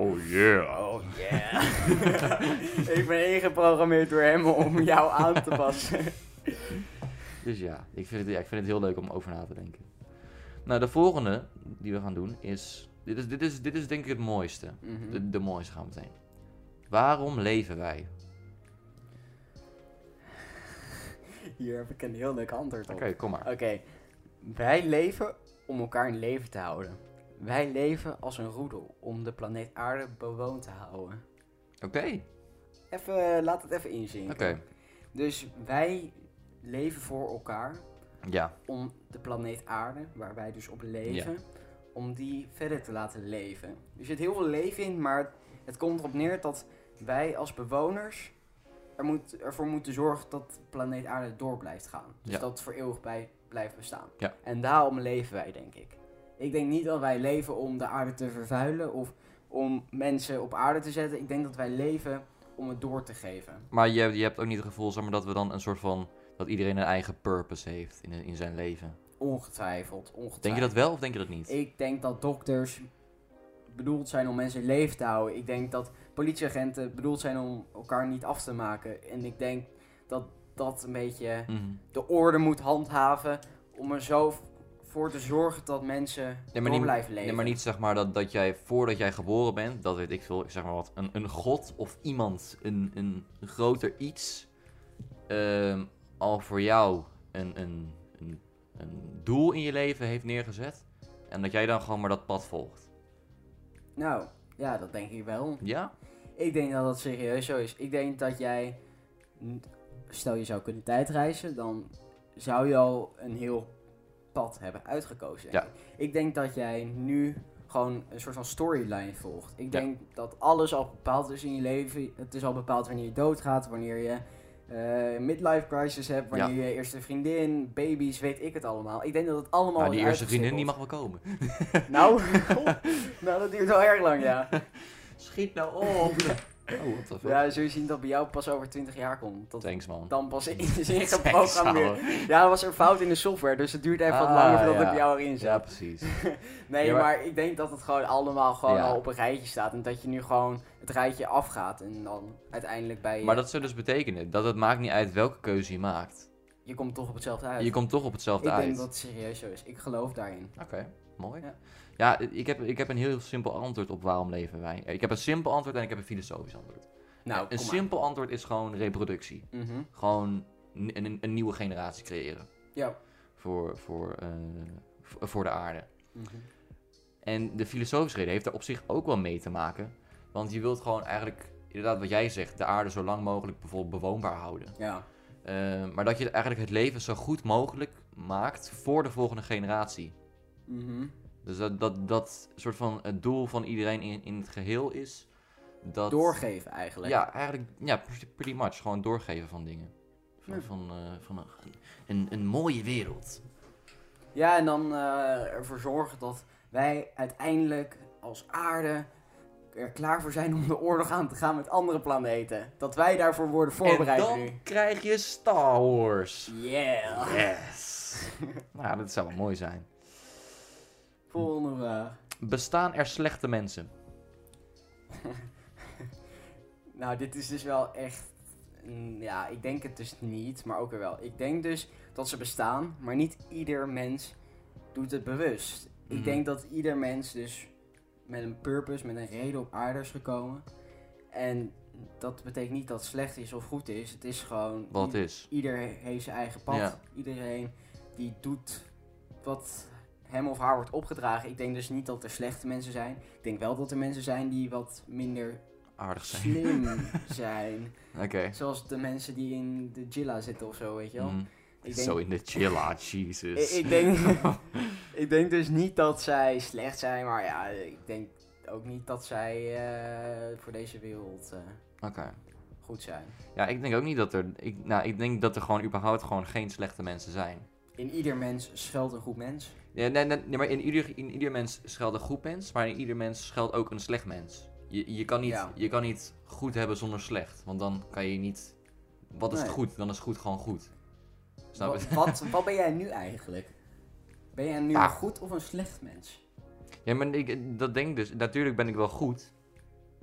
B: Oh yeah.
A: Oh yeah. ik ben ingeprogrammeerd door hem om jou aan te passen.
B: Dus ja ik, vind het, ja, ik vind het heel leuk om over na te denken. Nou, de volgende die we gaan doen is... Dit is, dit is, dit is denk ik het mooiste.
A: Mhm.
B: De, de mooiste gaan we meteen. Waarom leven wij?
A: Hier heb ik een heel leuk antwoord
B: Oké,
A: op.
B: kom maar.
A: Oké, wij leven om elkaar in leven te houden. Wij leven als een roedel om de planeet aarde bewoond te houden.
B: Oké,
A: Even, laat het even inzinken.
B: oké.
A: Dus wij leven voor elkaar
B: Ja,
A: om de planeet aarde, waar wij dus op leven, om die verder te laten leven. Er zit heel veel leven in, maar het komt erop neer dat wij als bewoners er moet, ervoor moeten zorgen dat planeet aarde door blijft gaan. Dus
B: Ja.
A: dat het voor eeuwig bij, blijft bestaan.
B: Ja.
A: En daarom leven wij, denk ik. Ik denk niet dat wij leven om de aarde te vervuilen of om mensen op aarde te zetten. Ik denk dat wij leven om het door te geven.
B: Maar je, je hebt ook niet het gevoel zeg maar, dat we dan een soort van. dat iedereen een eigen purpose heeft in, in zijn leven.
A: Ongetwijfeld, ongetwijfeld.
B: Denk je dat wel of denk je dat niet?
A: Ik denk dat dokters bedoeld zijn om mensen in leven te houden. Ik denk dat politieagenten bedoeld zijn om elkaar niet af te maken. En ik denk dat dat een beetje
B: Mhm.
A: de orde moet handhaven om er zo v- voor te zorgen dat mensen
B: Nee, maar
A: door
B: niet-
A: blijven leven.
B: Nee, maar niet zeg maar dat, dat jij voordat jij geboren bent, dat weet ik veel, ik zeg maar wat, een, een god of iemand, een, een groter iets, ehm, al voor jou een, een, een, een doel in je leven heeft neergezet. En dat jij dan gewoon maar dat pad volgt.
A: Nou, ja, dat denk ik wel.
B: Ja?
A: Ik denk dat dat serieus zo is. Ik denk dat jij, n- stel je zou kunnen tijdreizen, dan zou je al een heel pad hebben uitgekozen. denk
B: Ja.
A: ik. Ik denk dat jij nu gewoon een soort van storyline volgt. Ik denk dat alles al bepaald is in je leven. Het is al bepaald wanneer je doodgaat, wanneer je eh, midlife crisis hebt, wanneer je eerste vriendin, baby's, weet ik het allemaal. Ik denk dat het allemaal
B: Nou, die
A: is
B: eerste vriendin die
A: uitgestippeld.
B: mag wel komen.
A: Nou, nou, dat duurt wel erg lang, ja.
B: Schiet nou op! oh, wat de fuck.
A: Ja, zul je zien dat bij jou pas over 20 jaar komt. Dat
B: Thanks man.
A: dan pas dus in is
B: Thanks,
A: ingeprogrammeerd.
B: ouwe.
A: Ja, er was een fout in de software, dus het duurt even wat
B: Ah,
A: langer voordat
B: ja.
A: het bij jou erin
B: Ja,
A: zit.
B: precies.
A: Nee,
B: Ja, maar-
A: maar... ik denk dat het gewoon allemaal gewoon
B: Ja.
A: al op een rijtje staat. En dat je nu gewoon het rijtje afgaat en dan uiteindelijk bij je...
B: Maar dat zou dus betekenen dat het maakt niet uit welke keuze je maakt.
A: Je komt toch op hetzelfde uit.
B: Je komt toch op
A: ik
B: hetzelfde
A: denk
B: uit.
A: dat het serieus zo is. Ik geloof daarin.
B: Oké, mooi. Ja,
A: Ja.
B: ik, heb, ik heb een heel simpel antwoord op waarom leven wij. Ik heb een simpel antwoord en ik heb een filosofisch antwoord.
A: Nou,
B: een
A: kom
B: simpel antwoord is gewoon reproductie.
A: maar. Mhm.
B: Gewoon n- een, een nieuwe generatie creëren.
A: Ja.
B: voor, voor, eh, v- voor de aarde.
A: Mhm.
B: En de filosofische reden heeft daar op zich ook wel mee te maken. Want je wilt gewoon eigenlijk, inderdaad wat jij zegt, de aarde zo lang mogelijk bijvoorbeeld bewoonbaar houden.
A: Ja.
B: Eh, maar dat je eigenlijk het leven zo goed mogelijk maakt voor de volgende generatie.
A: Mhm.
B: Dus dat, dat, dat soort van het doel van iedereen in, in het geheel is. Dat,
A: Doorgeven eigenlijk.
B: Ja, eigenlijk, ja, pretty- pretty much. Gewoon doorgeven van dingen. Van,
A: Ja.
B: van, eh, van een, een, een mooie wereld.
A: Ja, en dan eh, ervoor zorgen dat wij uiteindelijk als aarde er klaar voor zijn om de oorlog aan te gaan met andere planeten. Dat wij daarvoor worden voorbereid
B: en dan
A: nu. Ah.
B: krijg je Star Wars.
A: Yeah.
B: Yes. nou, dat zou wel mooi zijn.
A: Volgende vraag.
B: Bestaan er slechte mensen?
A: Nou, dit is dus wel echt... mm, Ja, ik denk het dus niet, maar ook weer wel. Ik denk dus dat ze bestaan, maar niet ieder mens doet het bewust.
B: Mhm.
A: Ik denk dat ieder mens dus met een purpose, met een reden op aarde is gekomen. En dat betekent niet dat het slecht is of goed is. Het is gewoon...
B: Wat
A: ieder-
B: is?
A: Ieder heeft zijn eigen pad.
B: Ja.
A: Iedereen die doet wat hem of haar wordt opgedragen. Ik denk dus niet dat er slechte mensen zijn. Ik denk wel dat er mensen zijn die wat minder
B: Aardig zijn.
A: slim zijn.
B: Oké.
A: Zoals de mensen die in de Gilla zitten of zo, weet je wel.
B: Mm.
A: Ik
B: Zo
A: denk,
B: in de chilla,
A: ik,
B: Jesus.
A: ik denk, ik denk dus niet dat zij slecht zijn, maar ja, ik denk ook niet dat zij eh, voor deze wereld eh,
B: Oké.
A: goed zijn.
B: Ja, ik denk ook niet dat er... Ik, nou, ik denk dat er gewoon überhaupt gewoon geen slechte mensen zijn.
A: In ieder mens schuilt een goed mens.
B: Ja, nee, nee, nee, maar in ieder, in ieder mens schuilt een goed mens, maar in ieder mens schuilt ook een slecht mens. Je, je, kan niet,
A: Ja.
B: je kan niet goed hebben zonder slecht, want dan kan je niet... Wat is
A: Nee.
B: goed? Dan is goed gewoon goed. Snap
A: Wat,
B: je?
A: wat, wat ben jij nu eigenlijk? Ben jij nu
B: Ah.
A: een goed of een slecht mens?
B: Ja, maar ik, dat denk ik dus. Natuurlijk ben ik wel goed,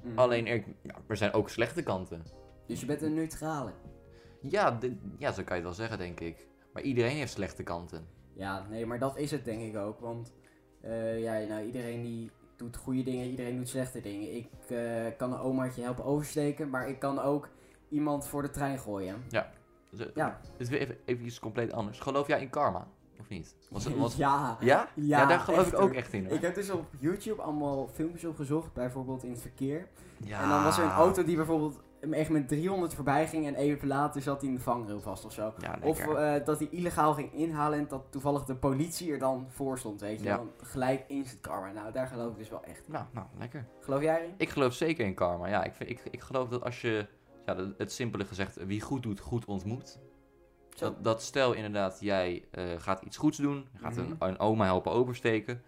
A: Mhm.
B: alleen er, ja, er zijn ook slechte kanten.
A: Dus je bent een neutrale.
B: Ja, dit- ja, zo kan je het wel zeggen, denk ik. Maar iedereen heeft slechte kanten.
A: Ja, nee, maar dat is het denk ik ook. Want eh, ja, nou, iedereen die doet goede dingen, iedereen doet slechte dingen. Ik eh, kan een omaatje helpen oversteken, maar ik kan ook iemand voor de trein gooien.
B: Dus, eh,
A: Ja.
B: Het is weer even, even iets compleet anders. Geloof jij in karma? Of niet? Was, was,
A: Ja.
B: ja?
A: Ja,
B: daar geloof ik
A: echt,
B: ook
A: hoor.
B: echt in. hoor.
A: Ik heb dus op YouTube allemaal filmpjes opgezocht, bijvoorbeeld in het verkeer.
B: Ja.
A: En dan was er een auto die bijvoorbeeld echt met 300 voorbij ging en even later zat hij in de vangrail vast of zo.
B: Ja,
A: Of
B: lekker.
A: eh, dat hij illegaal ging inhalen en dat toevallig de politie er dan voor stond, weet je.
B: Ja.
A: Dan gelijk instant karma. Nou, daar geloof ik dus wel echt. in.
B: Nou, nou, lekker.
A: Geloof jij erin?
B: Ik geloof zeker in karma. Ja, ik, vind- ik, ik geloof dat als je, ja, dat- het simpele gezegd, wie goed doet, goed ontmoet.
A: Zo.
B: Dat, dat stel inderdaad, jij eh, gaat iets goeds doen, je gaat
A: Mhm.
B: een, een oma helpen oversteken.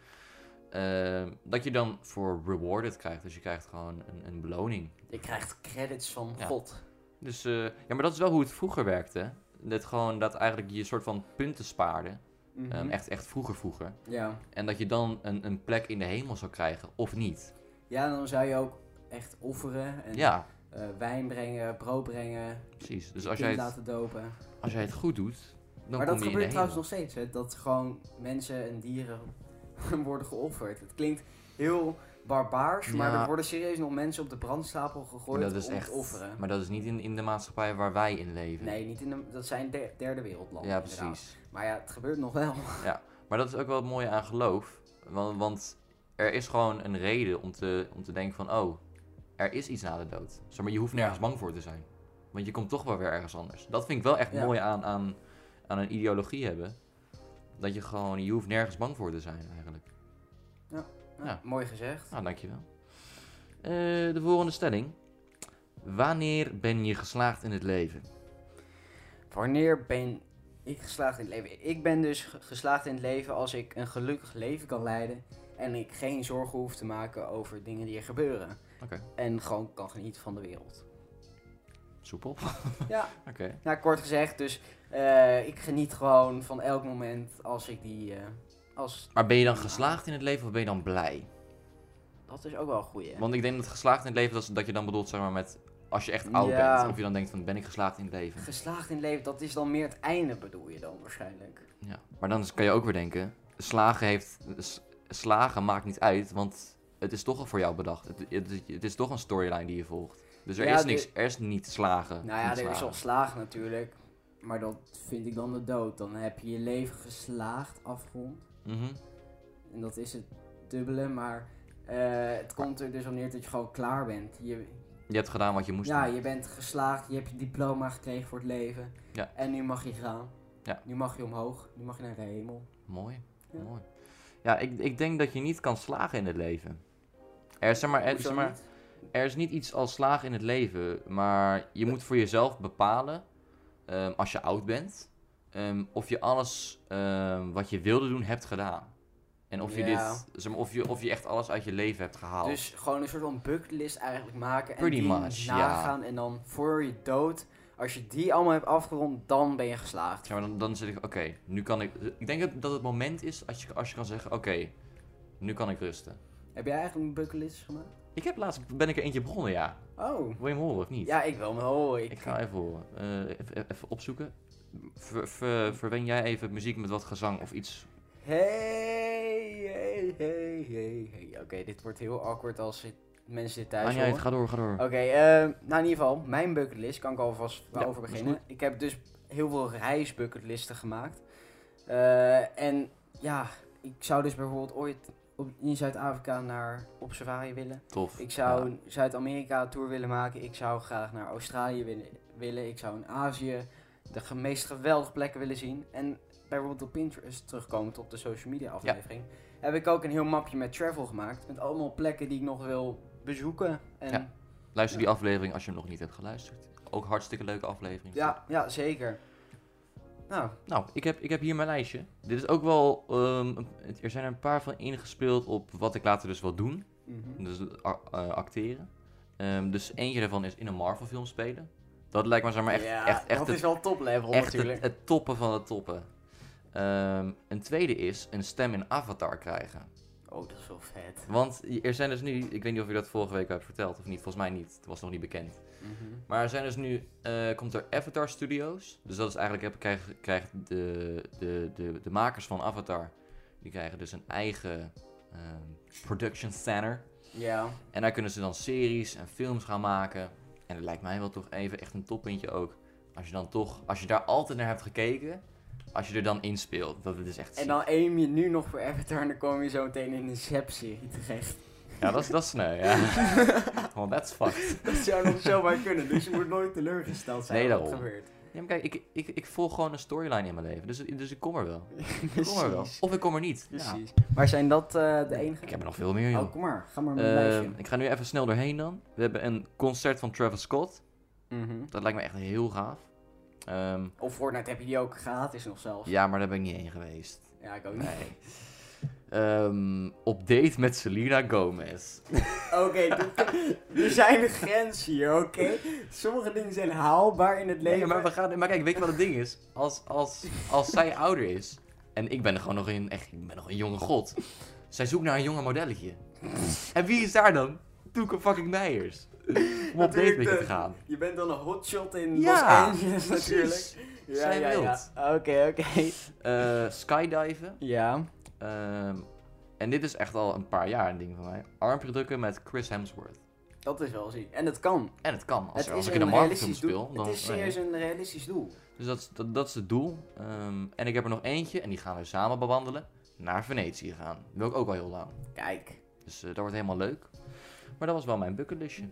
B: eh, dat je dan voor rewarded krijgt. Dus je krijgt gewoon een, een beloning.
A: Je krijgt credits van
B: Ja.
A: God.
B: Dus eh, ja, maar dat is wel hoe het vroeger werkte. Dat gewoon dat eigenlijk je een soort van punten spaarde.
A: Mhm.
B: Ehm, echt, echt vroeger vroeger.
A: Ja.
B: En dat je dan een, een plek in de hemel zou krijgen, of niet.
A: ja, dan zou je ook echt offeren. En,
B: Ja,
A: eh, wijn brengen, brood brengen,
B: precies. Dus
A: je
B: als jij
A: kind
B: het,
A: laten dopen.
B: als jij het goed doet, dan
A: Maar dat
B: kom je in de
A: gebeurt trouwens
B: hemel.
A: nog steeds, hè. Dat gewoon mensen en dieren worden geofferd. Het klinkt heel barbaars, maar
B: Ja.
A: er worden serieus nog mensen op de brandstapel gegooid
B: dat is
A: om
B: echt,
A: te offeren.
B: Maar dat is niet in, in de maatschappij waar wij in leven.
A: Nee, niet in de, dat zijn der- derde wereldlanden.
B: ja,
A: inderdaad.
B: precies.
A: Maar ja, het gebeurt nog wel.
B: Maar dat is ook wel het mooie aan geloof. Want, want er is gewoon een reden om te, om te denken van, oh, er is iets na de dood. Zeg maar, je hoeft nergens bang voor te zijn. Want je komt toch wel weer ergens anders. Dat vind ik wel echt
A: Ja.
B: mooi aan, aan, aan een ideologie hebben. Dat je gewoon, je hoeft nergens bang voor te zijn eigenlijk.
A: Nou,
B: Ja.
A: Mooi gezegd.
B: Nou, dankjewel. Eh de volgende stelling. Wanneer ben je geslaagd in het leven?
A: Wanneer ben ik geslaagd in het leven? Ik ben dus ge- geslaagd in het leven als ik een gelukkig leven kan leiden. En ik geen zorgen hoef te maken over dingen die er gebeuren.
B: Oké.
A: En gewoon kan genieten van de wereld.
B: Soepel.
A: Ja,
B: Oké.
A: nou kort gezegd, dus eh, ik geniet gewoon van elk moment als ik die. eh, als,
B: Maar ben je dan geslaagd in het leven of ben je dan blij?
A: dat is ook wel een goeie.
B: Want ik denk dat geslaagd in het leven, dat, is- dat je dan bedoelt zeg maar met... Als je echt oud
A: Ja.
B: bent, of je dan denkt van ben ik geslaagd in het leven?
A: Geslaagd in het leven, dat is dan meer het einde bedoel je dan waarschijnlijk.
B: Ja. Maar dan is- kan je ook weer denken, slagen, heeft, s- slagen maakt niet uit, want het is toch al voor jou bedacht. Het, het, het is toch een storyline die je volgt. Dus er
A: Ja,
B: is
A: de-
B: niks, er is niet slagen.
A: Nou ja,
B: niet
A: er is
B: slagen.
A: al slagen natuurlijk. Maar dat vind ik dan de dood. Dan heb je je leven geslaagd afgerond.
B: Mhm.
A: En dat is het dubbele, maar eh, het komt er dus al neer dat je gewoon klaar bent. Je,
B: Je hebt gedaan wat je moest
A: ja,
B: doen.
A: je bent geslaagd, je hebt je diploma gekregen voor het leven.
B: Ja.
A: En nu mag je gaan.
B: Ja.
A: Nu mag je omhoog, nu mag je naar de hemel.
B: Mooi,
A: Ja.
B: mooi. Ja, ik, ik denk dat je niet kan slagen in het leven. Er is, zeg maar, er,
A: Hoezo
B: zeg maar,
A: niet?
B: er is niet iets als slagen in het leven, maar je moet voor jezelf bepalen, ehm, als je oud bent, ehm, of je alles ehm, wat je wilde doen hebt gedaan. En of je,
A: Ja.
B: dit, zeg maar, of, je, of je echt alles uit je leven hebt gehaald.
A: Dus gewoon een soort van bucketlist eigenlijk maken. En
B: Pretty
A: die
B: much, ja.
A: nagaan en dan voor je dood, als je die allemaal hebt afgerond, dan ben je geslaagd.
B: Zeg maar, dan, dan zit ik, oké, nu kan ik... Ik denk dat, dat het moment is als je, als je kan zeggen, oké, nu kan ik rusten.
A: Heb jij eigenlijk een bucketlist gemaakt?
B: Ik heb laatst, ben ik er eentje begonnen, ja.
A: Oh.
B: Wil je hem horen of niet?
A: Ja, ik wil me horen. Ik,
B: Ik ga even horen. Eh, even, even opzoeken. Ver, ver- verwen jij even muziek met wat gezang of iets?
A: Hey, hey, hey, hey, hey. Oké, dit wordt heel awkward als dit- mensen dit thuis
B: Ah, niet
A: horen.
B: uit, ga door, ga door.
A: Oké, ehm, nou in ieder geval, mijn bucketlist kan ik alvast
B: Ja,
A: over
B: is
A: beginnen.
B: goed.
A: Ik heb dus heel veel reisbucketlisten gemaakt. Eh, en ja, ik zou dus bijvoorbeeld ooit op, in Zuid-Afrika naar op safari willen.
B: Tof. Nou,
A: Ik zou
B: Ja.
A: een Zuid-Amerika tour willen maken. Ik zou graag naar Australië willen. willen. Ik zou in Azië de ge- meest geweldige plekken willen zien. En bijvoorbeeld op Pinterest terugkomen tot de social media aflevering. Heb ik ook een heel mapje met travel gemaakt. Met allemaal plekken die ik nog wil bezoeken. En
B: Ja. Luister die aflevering als je hem nog niet hebt geluisterd. Ook hartstikke leuke aflevering.
A: Ja, ja zeker. Nou,
B: Nou, ik heb, ik heb hier mijn lijstje. Dit is ook wel... ehm, een- er zijn er een paar van ingespeeld op wat ik later dus wil doen.
A: mhm.
B: Dus a- eh, acteren. Ehm, dus eentje daarvan is in een Marvel film spelen. Dat lijkt me zeg maar echt,
A: ja,
B: echt, echt
A: dat
B: het-
A: is wel toplevel
B: echt
A: natuurlijk.
B: het, het toppen van het toppen. Ehm, een tweede is een stem in Avatar krijgen.
A: Oh, dat is wel vet.
B: Want er zijn dus nu, ik weet niet of je dat vorige week hebt verteld of niet, volgens mij niet, het was nog niet bekend.
A: Mhm.
B: Maar er zijn dus nu, eh, komt er Avatar Studios, dus dat is eigenlijk, heb- krijgen, krijgen de, de, de, de makers van Avatar, die krijgen dus een eigen ehm, production center.
A: Ja,
B: En daar kunnen ze dan series en films gaan maken. En dat lijkt mij wel toch even echt een toppuntje ook. Als je dan toch, als je daar altijd naar hebt gekeken, als je er dan inspeelt, dat het is echt.
A: en dan aim je nu nog voor Avatar en dan kom je zo meteen in Inceptie terecht.
B: ziek. Ja, dat is, dat is sneu, ja. Want that's fucked.
A: Dat zou nog zomaar kunnen, dus je moet nooit teleurgesteld zijn
B: Nee,
A: wat er
B: daarom.
A: gebeurt.
B: Ja, maar kijk, ik, ik, ik volg gewoon een storyline in mijn leven. Dus, dus ik kom er wel. Ik kom er wel. Of ik kom er niet. Ja.
A: Precies. Maar zijn dat eh, de enige?
B: Ik heb er nog veel meer, joh.
A: Oh, kom maar. Ga maar met een
B: Ehm,
A: lijstje.
B: ik ga nu even snel doorheen dan. We hebben een concert van Travis Scott. Dat lijkt me echt heel gaaf. Ehm,
A: Mhm. Of Fortnite heb je die ook gratis nog zelfs.
B: ja, maar daar ben ik niet heen geweest.
A: Ja, ik ook niet.
B: Nee. Ehm, op date met Selena Gomez.
A: Oké, dit- er zijn grenzen hier, oké? Sommige dingen zijn haalbaar in het leven.
B: Nee, maar, we gaan, maar kijk, weet je wat het ding is? Als, als, als zij ouder is, en ik ben gewoon nog een, echt, ik ben nog een jonge god. Zij zoekt naar een jonge modelletje. En wie is daar dan? Toeke fucking Meijers. Om op date
A: Natuurlijk
B: met je te
A: de-
B: gaan.
A: Je bent dan een hotshot in Los
B: Ja,
A: Angeles natuurlijk.
B: Precies. Zij wild.
A: ja. Oké, oké.
B: Eh, skydiven.
A: Ja.
B: Ehm, en dit is echt al een paar jaar een ding van mij. Armpje drukken met Chris Hemsworth.
A: Dat is wel ziek. En het kan.
B: En het kan. Als,
A: het
B: als
A: is
B: ik in een Marvel-film speel,
A: doel.
B: dan...
A: Het is
B: nee.
A: serieus een realistisch doel.
B: Dus dat, is- dat, dat is het doel. Ehm, en ik heb er nog eentje, en die gaan we samen bewandelen. Naar Venetië gaan. Wil ik ook al heel lang.
A: Kijk.
B: Dus eh, dat wordt helemaal leuk. Maar dat was wel mijn bucketlistje.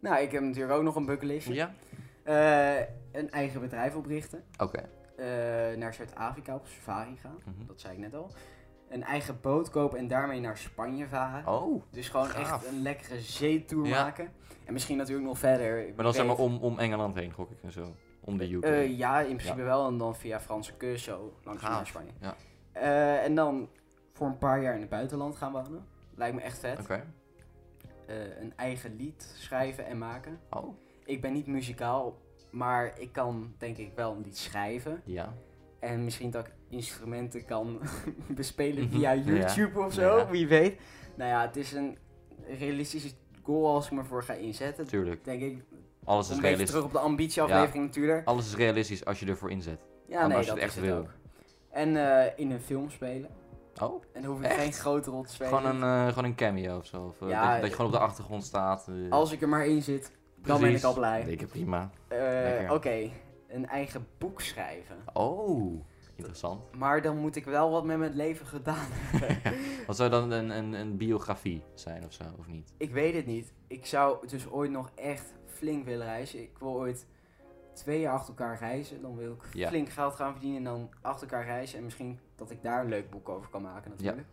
A: Nou, ik heb natuurlijk ook nog een bucketlist.
B: Ja?
A: Eh, een eigen bedrijf oprichten.
B: Oké.
A: Eh, naar Zuid-Afrika op safari gaan.
B: Mhm.
A: Dat zei ik net al. Een eigen boot kopen en daarmee naar Spanje varen.
B: Oh.
A: Dus gewoon
B: Gaaf.
A: echt een lekkere zeetour
B: Ja.
A: maken. En misschien natuurlijk nog verder.
B: Maar dan zeg maar
A: Weet-
B: om, om Engeland heen, gok ik en zo. Om de UK.
A: Eh, ja, in principe
B: Ja.
A: wel. En dan via Franse kust zo langs
B: Gaaf,
A: naar Spanje.
B: ja.
A: Eh, en dan voor een paar jaar in het buitenland gaan wonen. Lijkt me echt vet.
B: Oké.
A: Eh, een eigen lied schrijven en maken.
B: Oh.
A: Ik ben niet muzikaal, maar ik kan denk ik wel een lied schrijven.
B: Ja.
A: En misschien dat ik instrumenten kan bespelen
B: Mhm.
A: via
B: Ja.
A: YouTube of zo,
B: Ja.
A: wie weet. Nou ja, het is een realistische goal als ik me voor ga inzetten.
B: Tuurlijk.
A: Denk ik,
B: Alles is
A: een beetje
B: realistisch.
A: terug op de ambitieaflevering natuurlijk.
B: Alles is realistisch als je ervoor inzet.
A: Ja,
B: Maar
A: nee,
B: als je
A: dat
B: het echt
A: is
B: wil.
A: het ook. En eh, in een film spelen.
B: Oh.
A: En dan hoef ik
B: Echt?
A: geen grote rol te spelen.
B: Gewoon een, eh, gewoon een cameo of zo. Of, eh,
A: Ja,
B: dat, je, dat
A: eh,
B: je gewoon op de achtergrond staat. eh,
A: Als ik er maar in zit, dan ben
B: precies.
A: ik al blij.
B: Denk ik prima.
A: Eh,
B: lekker.
A: Oké, Eh, een eigen boek schrijven.
B: Oh, interessant.
A: Maar dan moet ik wel wat met mijn leven gedaan hebben.
B: Wat zou dan een, een, een biografie zijn of zo, of niet?
A: ik weet het niet. Ik zou dus ooit nog echt flink willen reizen. Ik wil ooit twee jaar achter elkaar reizen. Dan wil ik
B: Ja.
A: flink geld gaan verdienen en dan achter elkaar reizen. En misschien dat ik daar een leuk boek over kan maken natuurlijk.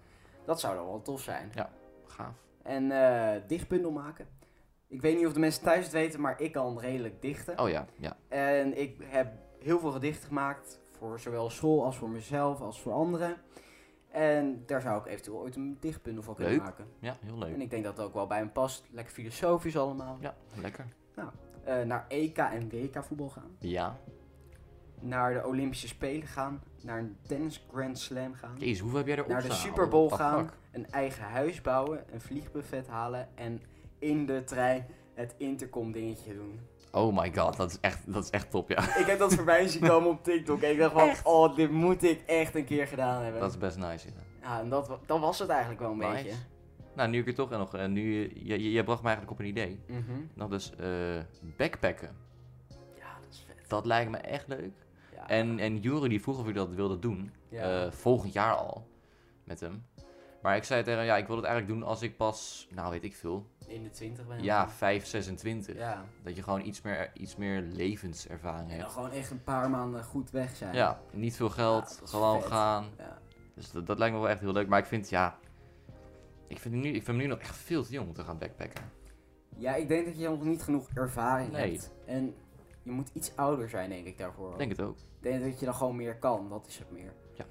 A: Dat zou dan wel tof zijn.
B: Gaaf.
A: En eh, dichtbundel maken. Ik weet niet of de mensen thuis het weten, maar ik kan redelijk dichten.
B: Oh ja, ja.
A: En ik heb heel veel gedichten gemaakt. Voor zowel school als voor mezelf als voor anderen. En daar zou ik eventueel ooit een dichtbundel van kunnen
B: Leuk.
A: maken.
B: Ja, heel
A: En
B: leuk.
A: ik denk dat het ook wel bij hem past. Lekker filosofisch allemaal.
B: Ja, lekker.
A: Eh, naar EK en WK voetbal gaan.
B: Ja.
A: Naar de Olympische Spelen gaan. Naar een tennis Grand Slam gaan.
B: Jezus, hoeveel heb jij erop
A: Naar de
B: staan?
A: Super Bowl
B: What the
A: gaan.
B: fuck?
A: Een eigen huis bouwen. Een vliegbuffet halen. En in de trein het intercom dingetje doen.
B: Oh my god, dat is echt, dat is echt top, ja.
A: Ik heb dat voorbij zien komen op TikTok. En ik dacht van, oh, dit moet ik echt een keer gedaan hebben.
B: Dat is best nice, ja.
A: Ja, en dat, wa- dat was het eigenlijk wel een
B: Nice.
A: beetje.
B: Nou, nu ik er toch nog... En nu, eh, je, je, je bracht me eigenlijk op een idee.
A: Mhm.
B: Dat is eh, backpacken.
A: Ja, dat is vet.
B: Dat lijkt me echt leuk.
A: Ja.
B: En, en Jury die vroeg of ik dat wilde doen.
A: Ja.
B: eh, volgend jaar al. Met hem. Maar ik zei tegen hem, ja, ik wil het eigenlijk doen als ik pas, nou weet ik veel,
A: in de 20 ben je
B: ja, dus.
A: dan.
B: 5, 26.
A: ja.
B: Dat je gewoon iets meer, iets meer levenservaring
A: En dan
B: hebt.
A: gewoon echt een paar maanden goed weg zijn.
B: Ja, niet veel
A: Ja,
B: geld,
A: dat is
B: gewoon
A: vet.
B: gaan.
A: Ja.
B: Dus dat, dat lijkt me wel echt heel leuk. Maar ik vind, ja, ik vind, nu, ik vind me nu nog echt veel te jong om te gaan backpacken.
A: Ja, ik denk dat je nog niet genoeg ervaring
B: Nee.
A: hebt. En je moet iets ouder zijn, denk ik, daarvoor.
B: Ik
A: ook.
B: denk het ook.
A: Ik denk dat je dan gewoon meer kan, dat is het meer.
B: Ja.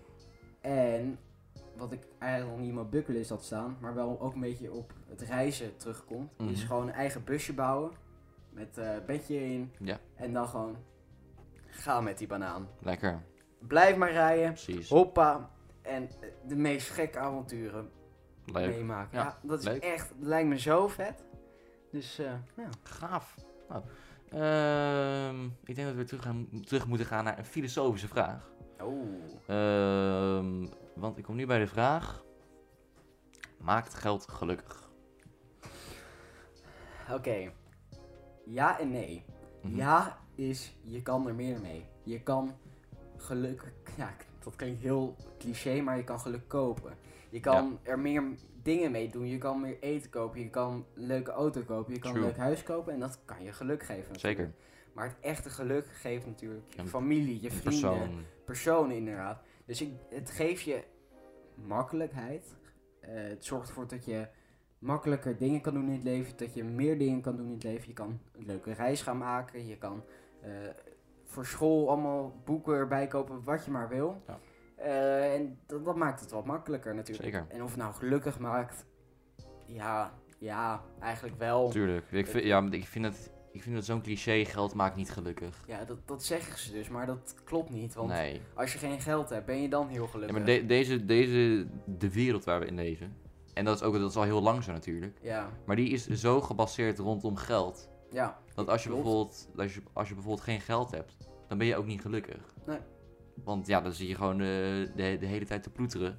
A: En wat ik eigenlijk nog niet in mijn bucketlist had staan, maar wel ook een beetje op het reizen terugkomt,
B: Mhm.
A: is gewoon een eigen busje bouwen. Met eh bedje in.
B: Ja.
A: En dan gewoon ga met die banaan.
B: Lekker,
A: Blijf maar rijden.
B: precies.
A: Hoppa. En eh, de meest gekke avonturen
B: Leuk.
A: meemaken. Ja,
B: Ja,
A: dat is
B: leuk.
A: echt, dat lijkt me zo vet. Dus eh, ja.
B: Gaaf. Nou, ehm, ik denk dat we terug, gaan, terug moeten gaan naar een filosofische vraag.
A: Oh.
B: Ehm, want ik kom nu bij de vraag: maakt geld gelukkig?
A: Oké. Ja en nee.
B: Mhm.
A: Ja is, je kan er meer mee. Je kan geluk... Ja, dat klinkt heel cliché, maar je kan geluk kopen. Je kan er meer dingen mee doen. Je kan meer eten kopen. Je kan een leuke auto kopen. Je kan
B: True.
A: een leuk huis kopen. En dat kan je geluk geven. natuurlijk.
B: Zeker.
A: Maar het echte geluk geeft natuurlijk je
B: Een-
A: familie, je
B: Een
A: vrienden.
B: persoon.
A: personen inderdaad. Dus ik, het geeft je makkelijkheid. Eh, het zorgt ervoor dat je makkelijker dingen kan doen in het leven. Dat je meer dingen kan doen in het leven. Je kan een leuke reis gaan maken. Je kan eh, voor school allemaal boeken erbij kopen, wat je maar wil.
B: Ja.
A: Eh, en dat, dat maakt het wat makkelijker natuurlijk.
B: Zeker.
A: En of het nou gelukkig maakt, ja, ja eigenlijk wel.
B: Tuurlijk. Ik vind, ja, maar ik vind het, ik vind het zo'n cliché: geld maakt niet gelukkig.
A: Ja, dat, dat zeggen ze dus, maar dat klopt niet. Want
B: Nee.
A: als je geen geld hebt, ben je dan heel
B: Ja,
A: gelukkig.
B: maar de- deze, deze, de wereld waar we in leven, en dat is, ook, dat is al heel lang zo natuurlijk,
A: ja,
B: maar die is zo gebaseerd rondom geld.
A: ja.
B: Dat als je,
A: Klopt.
B: bijvoorbeeld, als, je, als je bijvoorbeeld geen geld hebt, dan ben je ook niet gelukkig.
A: Nee.
B: Want ja, dan zit je gewoon eh, de, de hele tijd te ploeteren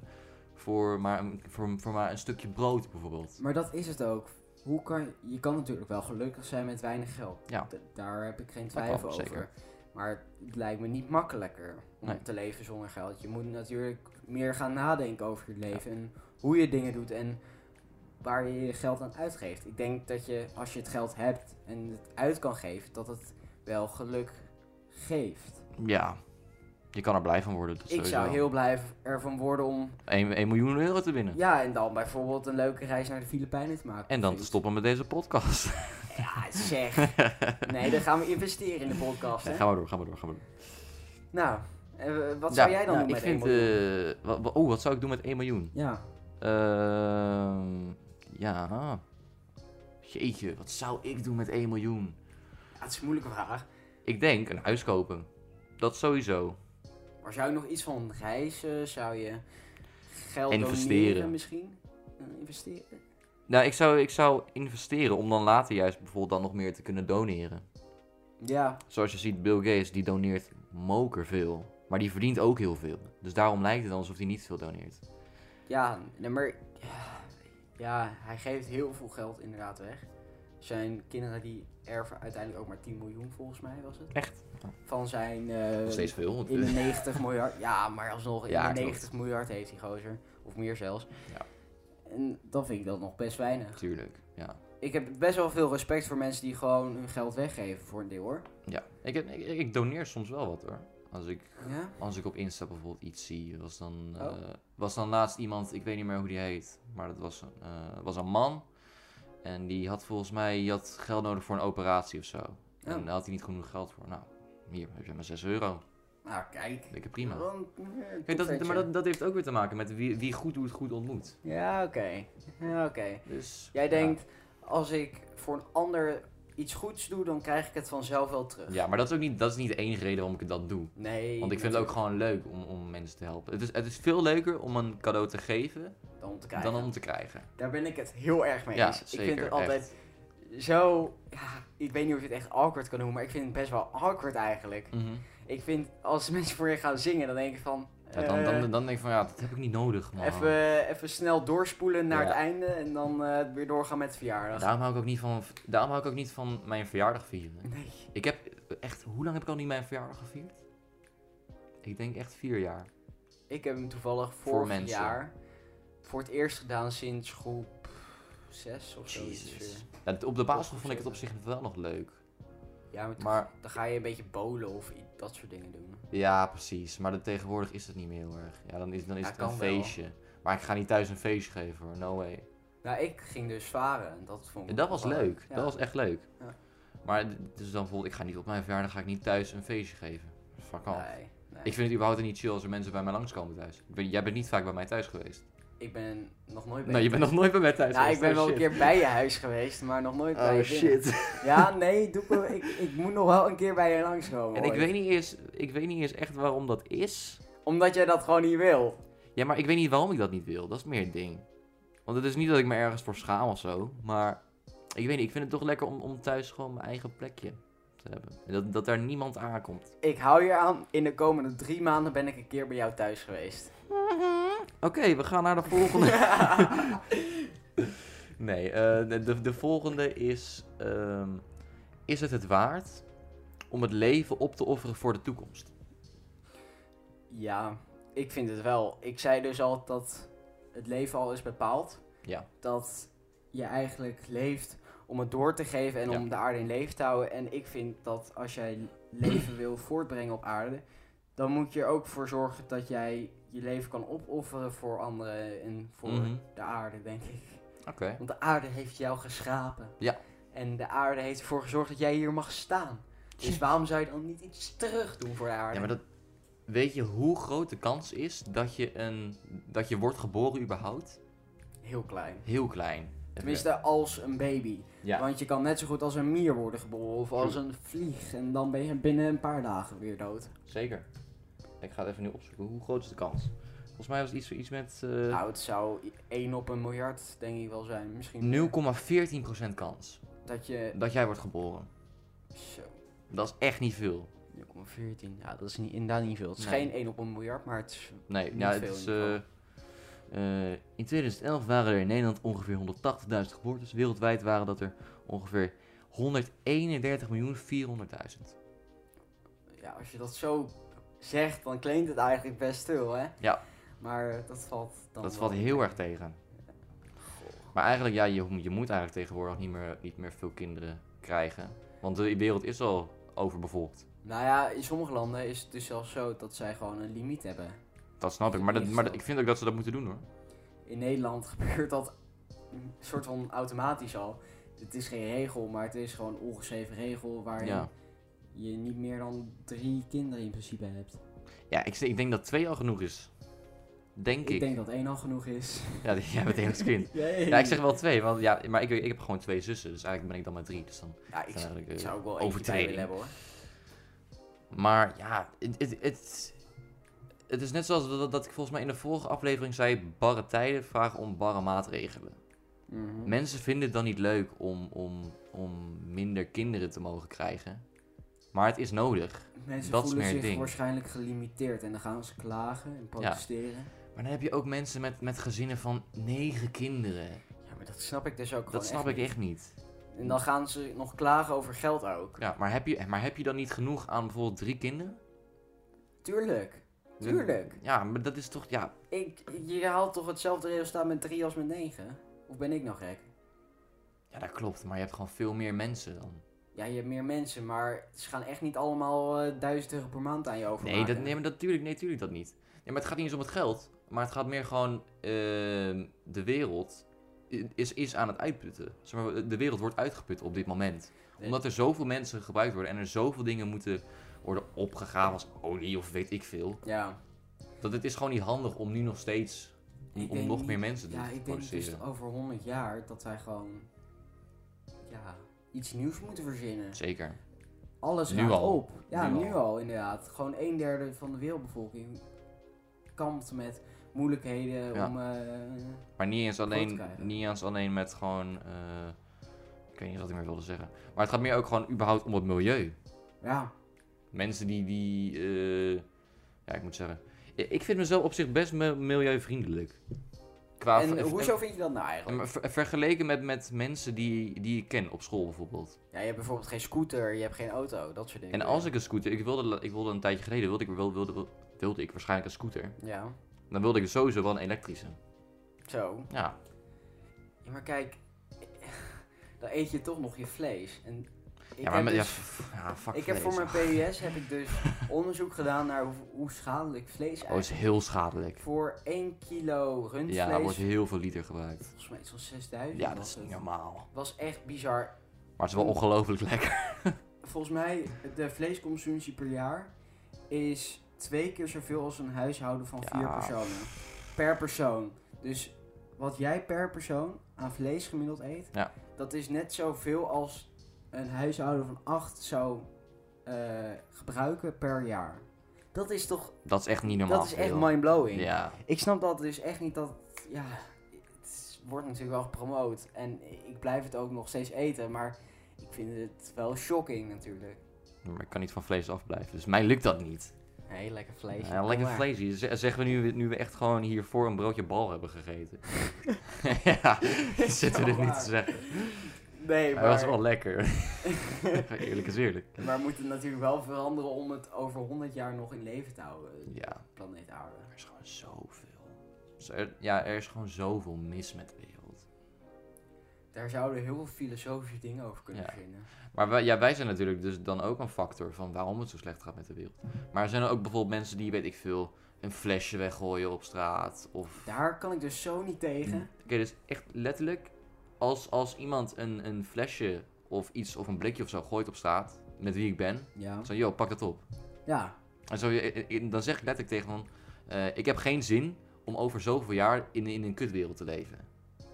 B: voor maar, een, voor, voor maar een stukje brood bijvoorbeeld.
A: Maar dat is het ook. Hoe kan, je kan natuurlijk wel gelukkig zijn met weinig geld.
B: Ja.
A: D- daar heb ik geen
B: kan,
A: twijfel over.
B: zeker.
A: Maar het lijkt me niet makkelijker om
B: Nee.
A: te leven zonder geld. Je moet natuurlijk meer gaan nadenken over je leven en hoe je dingen doet en waar je je geld aan uitgeeft. Ik denk dat je, als je het geld hebt en het uit kan geven, dat het wel geluk geeft.
B: Ja, je kan er blij van worden. Dat
A: Ik zou
B: sowieso.
A: heel blij ervan worden om,
B: 1, miljoen euro te winnen.
A: ja, en dan bijvoorbeeld een leuke reis naar de Filipijnen te maken.
B: En dan
A: of
B: te
A: zoiets.
B: stoppen met deze podcast.
A: Ja, zeg. Nee, dan gaan we investeren in de podcast.
B: Nee,
A: Hè?
B: ga maar door, ga maar door, ga maar door.
A: Nou, eh, wat zou
B: Ja,
A: jij dan
B: nou,
A: doen
B: ik
A: met één
B: vind,
A: miljoen?
B: eh, wa- wa- oh, wat zou ik doen met 1 miljoen?
A: Ja,
B: Ehm, ja. Jeetje, wat zou ik doen met 1 miljoen?
A: Ja, Ah, het is een moeilijke vraag.
B: Ik denk een huis kopen. Dat sowieso.
A: Maar zou je nog iets van reizen? Zou je geld
B: Investeren.
A: doneren misschien? Eh, investeren?
B: Nou, ik zou, ik zou investeren om dan later juist bijvoorbeeld dan nog meer te kunnen doneren.
A: Ja,
B: Zoals je ziet, Bill Gates die doneert mokerveel. Maar die verdient ook heel veel. Dus daarom lijkt het alsof hij niet veel doneert.
A: ja, nee, maar... Ja, hij geeft heel veel geld inderdaad weg. zijn kinderen die erven uiteindelijk ook maar 10 miljoen volgens mij was het.
B: Echt?
A: Van zijn eh,
B: Nog steeds veel. Want,
A: in de 90 miljard. Ja, maar alsnog in
B: Ja,
A: de
B: klopt.
A: 90 miljard heeft die gozer. Of meer zelfs.
B: Ja.
A: En dan vind ik dat nog best weinig.
B: Tuurlijk, ja.
A: Ik heb best wel veel respect voor mensen die gewoon hun geld weggeven voor een deel hoor.
B: ja. Ik, heb, ik, ik doneer soms wel wat hoor. Als ik,
A: Ja?
B: als ik op Insta bijvoorbeeld iets zie, was dan,
A: Oh.
B: eh, was dan laatst iemand, ik weet niet meer hoe die heet, maar dat was, een, eh, was een man. En die had volgens mij die had geld nodig voor een operatie of zo. En
A: Oh.
B: daar had hij niet genoeg geld voor. Nou, hier heb je maar 6 euro.
A: Nou, kijk.
B: Dikke prima.
A: Want, eh,
B: Kijk, dat,
A: topventje.
B: maar dat, dat heeft ook weer te maken met wie, wie goed doet, goed ontmoet.
A: Ja, oké. Ja, oké.
B: Dus,
A: Jij
B: ja.
A: denkt, als ik voor een ander iets goeds doe, dan krijg ik het vanzelf wel terug.
B: Ja, maar dat is ook niet, dat is niet de enige reden waarom ik dat doe.
A: Nee.
B: Want ik vind het ook gewoon leuk om, om mensen te helpen. Het is, het is veel leuker om een cadeau te geven
A: gewoon... Dan om te krijgen.
B: dan om te krijgen.
A: Daar ben ik het heel erg mee
B: Ja,
A: eens. ik vind
B: zeker,
A: het altijd zo... Ja, ik weet niet of je het echt awkward kan noemen, maar ik vind het best wel awkward eigenlijk.
B: Mhm.
A: Ik vind, als mensen voor je gaan zingen, dan denk ik van...
B: Ja, dan, dan,
A: eh,
B: dan denk ik van ja, dat heb ik niet nodig. Man.
A: Even, even snel doorspoelen naar
B: Ja.
A: het einde en dan eh, weer doorgaan met verjaardag.
B: Daarom hou, ik ook niet van, daarom hou ik ook niet van mijn verjaardag vieren.
A: Nee.
B: Ik heb echt, hoe lang heb ik al niet mijn verjaardag gevierd? Ik denk echt vier jaar.
A: Ik heb hem toevallig
B: Voor
A: vorig
B: mensen.
A: jaar voor het eerst gedaan sinds groep 6 of zo.
B: Jezus. Ja, op de basisschool vond ik het op zich wel nog leuk.
A: Ja, maar, toen-
B: Maar
A: dan ga je een beetje bowlen of i- dat soort dingen doen.
B: ja, precies. Maar dat- tegenwoordig is dat niet meer heel erg. Ja, dan is, dan is
A: Ja,
B: het een
A: kan wel.
B: feestje. Maar ik ga niet thuis een feestje geven hoor, no way.
A: Nou, ik ging dus varen en dat vond ik...
B: Ja, dat was
A: wel-
B: leuk.
A: Oh, ja.
B: Dat was echt leuk.
A: Ja.
B: Maar d- dus dan bijvoorbeeld, ik ga niet op mijn verjaardag ga ik niet thuis een feestje geven. Fuck off.
A: Nee, nee.
B: Ik
A: Ik...
B: vind het überhaupt niet chill als er mensen bij mij langskomen thuis. Ik ben, jij bent niet vaak bij mij thuis geweest.
A: ben nog nooit bij
B: Nee, Nou, je bent nog nooit bij mij thuis
A: Nou, ik
B: geweest.
A: ben
B: Oh,
A: wel een
B: shit.
A: keer bij je huis geweest, maar nog nooit bij
B: Oh
A: je binnen.
B: shit.
A: Ja, nee, doe me- ik, ik moet nog wel een keer bij je langskomen.
B: En ik
A: hoor.
B: weet, niet eens, ik weet niet eens echt waarom dat is.
A: Omdat jij dat gewoon niet wil.
B: Ja, maar ik weet niet waarom ik dat niet wil. Dat is meer het ding. Want het is niet dat ik me ergens voor schaam of zo. Maar ik weet niet, ik vind het toch lekker om, om thuis gewoon mijn eigen plekje te hebben. En dat, dat daar niemand aankomt.
A: Ik hou je aan, in de komende drie maanden ben ik een keer bij jou thuis geweest.
B: Oké, we gaan naar de volgende. Nee, eh, de, de, de volgende is... ehm, is het het waard om het leven op te offeren voor de toekomst?
A: Ja, ik vind het wel. Ik zei dus al dat het leven al is bepaald.
B: Ja.
A: Dat je eigenlijk leeft om het door te geven en
B: Ja.
A: om de aarde in leven te houden. En ik vind dat als jij leven wil voortbrengen op aarde, dan moet je er ook voor zorgen dat jij je leven kan opofferen voor anderen en voor
B: Mhm.
A: de aarde, denk ik.
B: Oké.
A: Want de aarde heeft jou geschapen.
B: Ja.
A: En de aarde heeft ervoor gezorgd dat jij hier mag staan. Dus waarom zou je dan niet iets terug doen voor de aarde?
B: Ja, maar dat... Weet je hoe groot de kans is dat je, een, dat je wordt geboren überhaupt?
A: Heel klein.
B: Heel klein.
A: Tenminste, als een baby.
B: Ja.
A: Want je kan net zo goed als een mier worden geboren of als een vlieg. En dan ben je binnen een paar dagen weer dood.
B: Zeker. Ik ga het even nu opzoeken. Hoe groot is de kans? Volgens mij was het iets, iets met eh,
A: Nou, het zou 1 op een miljard, denk ik wel zijn. Misschien meer.
B: 0,14% kans
A: dat je.
B: dat jij wordt geboren.
A: Zo,
B: Dat is echt niet veel.
A: 0,14. Ja, dat is niet, inderdaad niet veel. Het is
B: Nee.
A: geen 1 op een miljard, maar het is.
B: Nee,
A: Niet
B: ja,
A: veel
B: het is,
A: in ieder
B: eh, eh, in 2011 waren er in Nederland ongeveer 180.000 geboortes. Wereldwijd waren dat er ongeveer 131.400.000.
A: Ja, als je dat zo zegt, dan klinkt het eigenlijk best stil, hè?
B: Ja.
A: Maar eh, dat valt dan.
B: Dat
A: wel
B: valt heel
A: mee.
B: erg tegen. Maar eigenlijk, ja, je, ho- je moet eigenlijk tegenwoordig niet meer, niet meer veel kinderen krijgen. Want de wereld is al overbevolkt.
A: Nou ja, in sommige landen is het dus zelfs zo dat zij gewoon een limiet hebben.
B: Dat snap ik, maar, dat, maar dat- ik vind ook dat ze dat moeten doen hoor.
A: In Nederland gebeurt dat een soort van automatisch al. Het is geen regel, maar het is gewoon een ongeschreven regel waarin
B: Ja,
A: je niet meer dan drie kinderen in principe hebt.
B: ja ik, ik denk dat twee al genoeg is. Denk
A: Ik,
B: ik.
A: denk dat één al genoeg is.
B: Ja, jij bent het kind. Ja, ik zeg wel twee, want, ja, maar ik, ik heb gewoon twee zussen, dus eigenlijk ben ik dan maar drie. Dus dan,
A: Ja, ik,
B: zijn eigenlijk,
A: ik
B: eh,
A: zou ook wel één bij
B: overtreding.
A: willen hebben hoor.
B: Maar ja, het, het, het, het is net zoals dat, dat ik volgens mij in de vorige aflevering zei, barre tijden vragen om barre maatregelen.
A: Mhm.
B: Mensen vinden het dan niet leuk om, om, om minder kinderen te mogen krijgen. Maar het is nodig.
A: Mensen
B: dat is
A: voelen
B: meer
A: zich
B: het ding.
A: waarschijnlijk gelimiteerd en dan gaan ze klagen en protesteren.
B: Maar dan heb je ook mensen met, met gezinnen van negen kinderen.
A: Ja, maar dat snap ik dus ook gewoon
B: Dat snap
A: echt
B: ik echt niet.
A: niet. En dan gaan ze nog klagen over geld ook.
B: Ja, maar heb, je, maar heb je dan niet genoeg aan bijvoorbeeld drie kinderen?
A: Tuurlijk. Tuurlijk.
B: Ja, maar dat is toch, ja,
A: Ik, je haalt toch hetzelfde resultaat met 3 als met 9? Of ben ik nou gek?
B: ja, dat klopt. Maar je hebt gewoon veel meer mensen dan.
A: Ja, je hebt meer mensen, maar ze gaan echt niet allemaal eh, duizend euro per maand aan je overmaken.
B: Nee, dat, nee, maar dat, tuurlijk, nee, tuurlijk dat niet. Nee, maar het gaat niet eens om het geld. Maar het gaat meer gewoon, ehm, de wereld i- is, is aan het uitputten. Zeg maar, de wereld wordt uitgeput op dit moment.
A: Nee.
B: Omdat er zoveel mensen gebruikt worden en er zoveel dingen moeten worden opgegraven als olie of weet ik veel.
A: Ja.
B: Dat het is gewoon niet handig om nu nog steeds, om,
A: Ik
B: om
A: denk
B: nog
A: niet-
B: meer mensen te
A: Ja, ik denk
B: produceren.
A: dus over 100 jaar dat wij gewoon. Ja, iets nieuws moeten verzinnen.
B: Zeker.
A: Alles
B: Nu
A: gaat
B: al.
A: op. Ja,
B: Nu
A: nu,
B: al.
A: al. inderdaad. Gewoon een derde van de wereldbevolking kampt met moeilijkheden
B: Ja.
A: om. eh,
B: Maar niet eens alleen,
A: krijgen.
B: niet eens alleen met gewoon, eh, ik weet niet wat ik meer wilde zeggen. Maar het gaat meer ook gewoon überhaupt om het milieu.
A: ja,
B: Mensen die, die eh, ja, ik moet zeggen. I- Ik vind mezelf op zich best me- milieuvriendelijk. Qua
A: en
B: ver-
A: hoezo vind je dat nou eigenlijk?
B: ver- ver- vergeleken met, met mensen die, die ik ken op school bijvoorbeeld.
A: Ja, je hebt bijvoorbeeld geen scooter, je hebt geen auto, dat soort dingen.
B: En als ik een scooter, ik wilde, la- ik wilde een tijdje geleden, wilde ik, wilde, wilde, wilde ik waarschijnlijk een scooter.
A: Ja,
B: Dan wilde ik sowieso wel een elektrische.
A: zo.
B: Ja,
A: Ja, maar kijk, dan eet je toch nog je vlees. En ik
B: ja maar
A: heb
B: met, ja,
A: dus-
B: f- ja, fuck
A: ik heb voor
B: vlees.
A: mijn PUS heb ik dus onderzoek gedaan naar hoe, hoe schadelijk vlees
B: Oh, het
A: eigenlijk
B: is heel schadelijk.
A: Voor 1 kilo
B: Ja, er
A: rundvlees,
B: wordt heel veel liter gebruikt.
A: volgens mij iets van 6000
B: Ja,
A: was
B: dat is niet
A: het.
B: normaal.
A: was echt bizar.
B: Maar het
A: Hm.
B: is wel ongelooflijk lekker.
A: Volgens mij, de vleesconsumptie per jaar is twee keer zoveel als een huishouden van vier
B: Ja.
A: personen. Per persoon. Dus wat jij per persoon aan vlees gemiddeld eet,
B: Ja.
A: dat is net zoveel als een huishouden van acht zou eh, gebruiken per jaar. Dat is toch,
B: Dat is echt niet normaal.
A: dat is echt
B: veel.
A: mindblowing.
B: Ja,
A: Ik snap dat dus echt niet dat. Ja, het wordt natuurlijk wel gepromoot. En ik blijf het ook nog steeds eten. Maar ik vind het wel shocking natuurlijk.
B: maar ik kan niet van vlees afblijven. Dus mij lukt dat niet.
A: Heel lekker vlees.
B: Ja, lekker vlees. hier. Z- Zeggen we nu, nu we echt gewoon hiervoor een broodje bal hebben gegeten. ja, dat zitten we
A: wel
B: dit niet
A: waar.
B: te zeggen.
A: Nee,
B: Hij
A: maar,
B: was wel lekker. eerlijk is eerlijk.
A: maar we moeten natuurlijk wel veranderen om het over 100 jaar nog in leven te houden.
B: Ja,
A: Planeet Aarde.
B: er is gewoon zoveel. Z- er- Ja, er is gewoon zoveel mis met de wereld.
A: Daar zouden heel veel filosofische dingen over kunnen
B: Ja.
A: vinden.
B: Maar wij, ja, wij zijn natuurlijk dus dan ook een factor van waarom het zo slecht gaat met de wereld. Maar er zijn er ook bijvoorbeeld mensen die, weet ik veel, een flesje weggooien op straat. Of...
A: Daar kan ik dus zo niet tegen.
B: Oké, dus echt letterlijk, als, als iemand een, een flesje of iets of een blikje of zo gooit op straat, met wie ik ben,
A: Ja.
B: zo, yo, pak dat op.
A: Ja.
B: En zo, eh, eh, dan zeg ik letterlijk tegen hem, eh, ik heb geen zin om over zoveel jaar in, in een kutwereld te leven.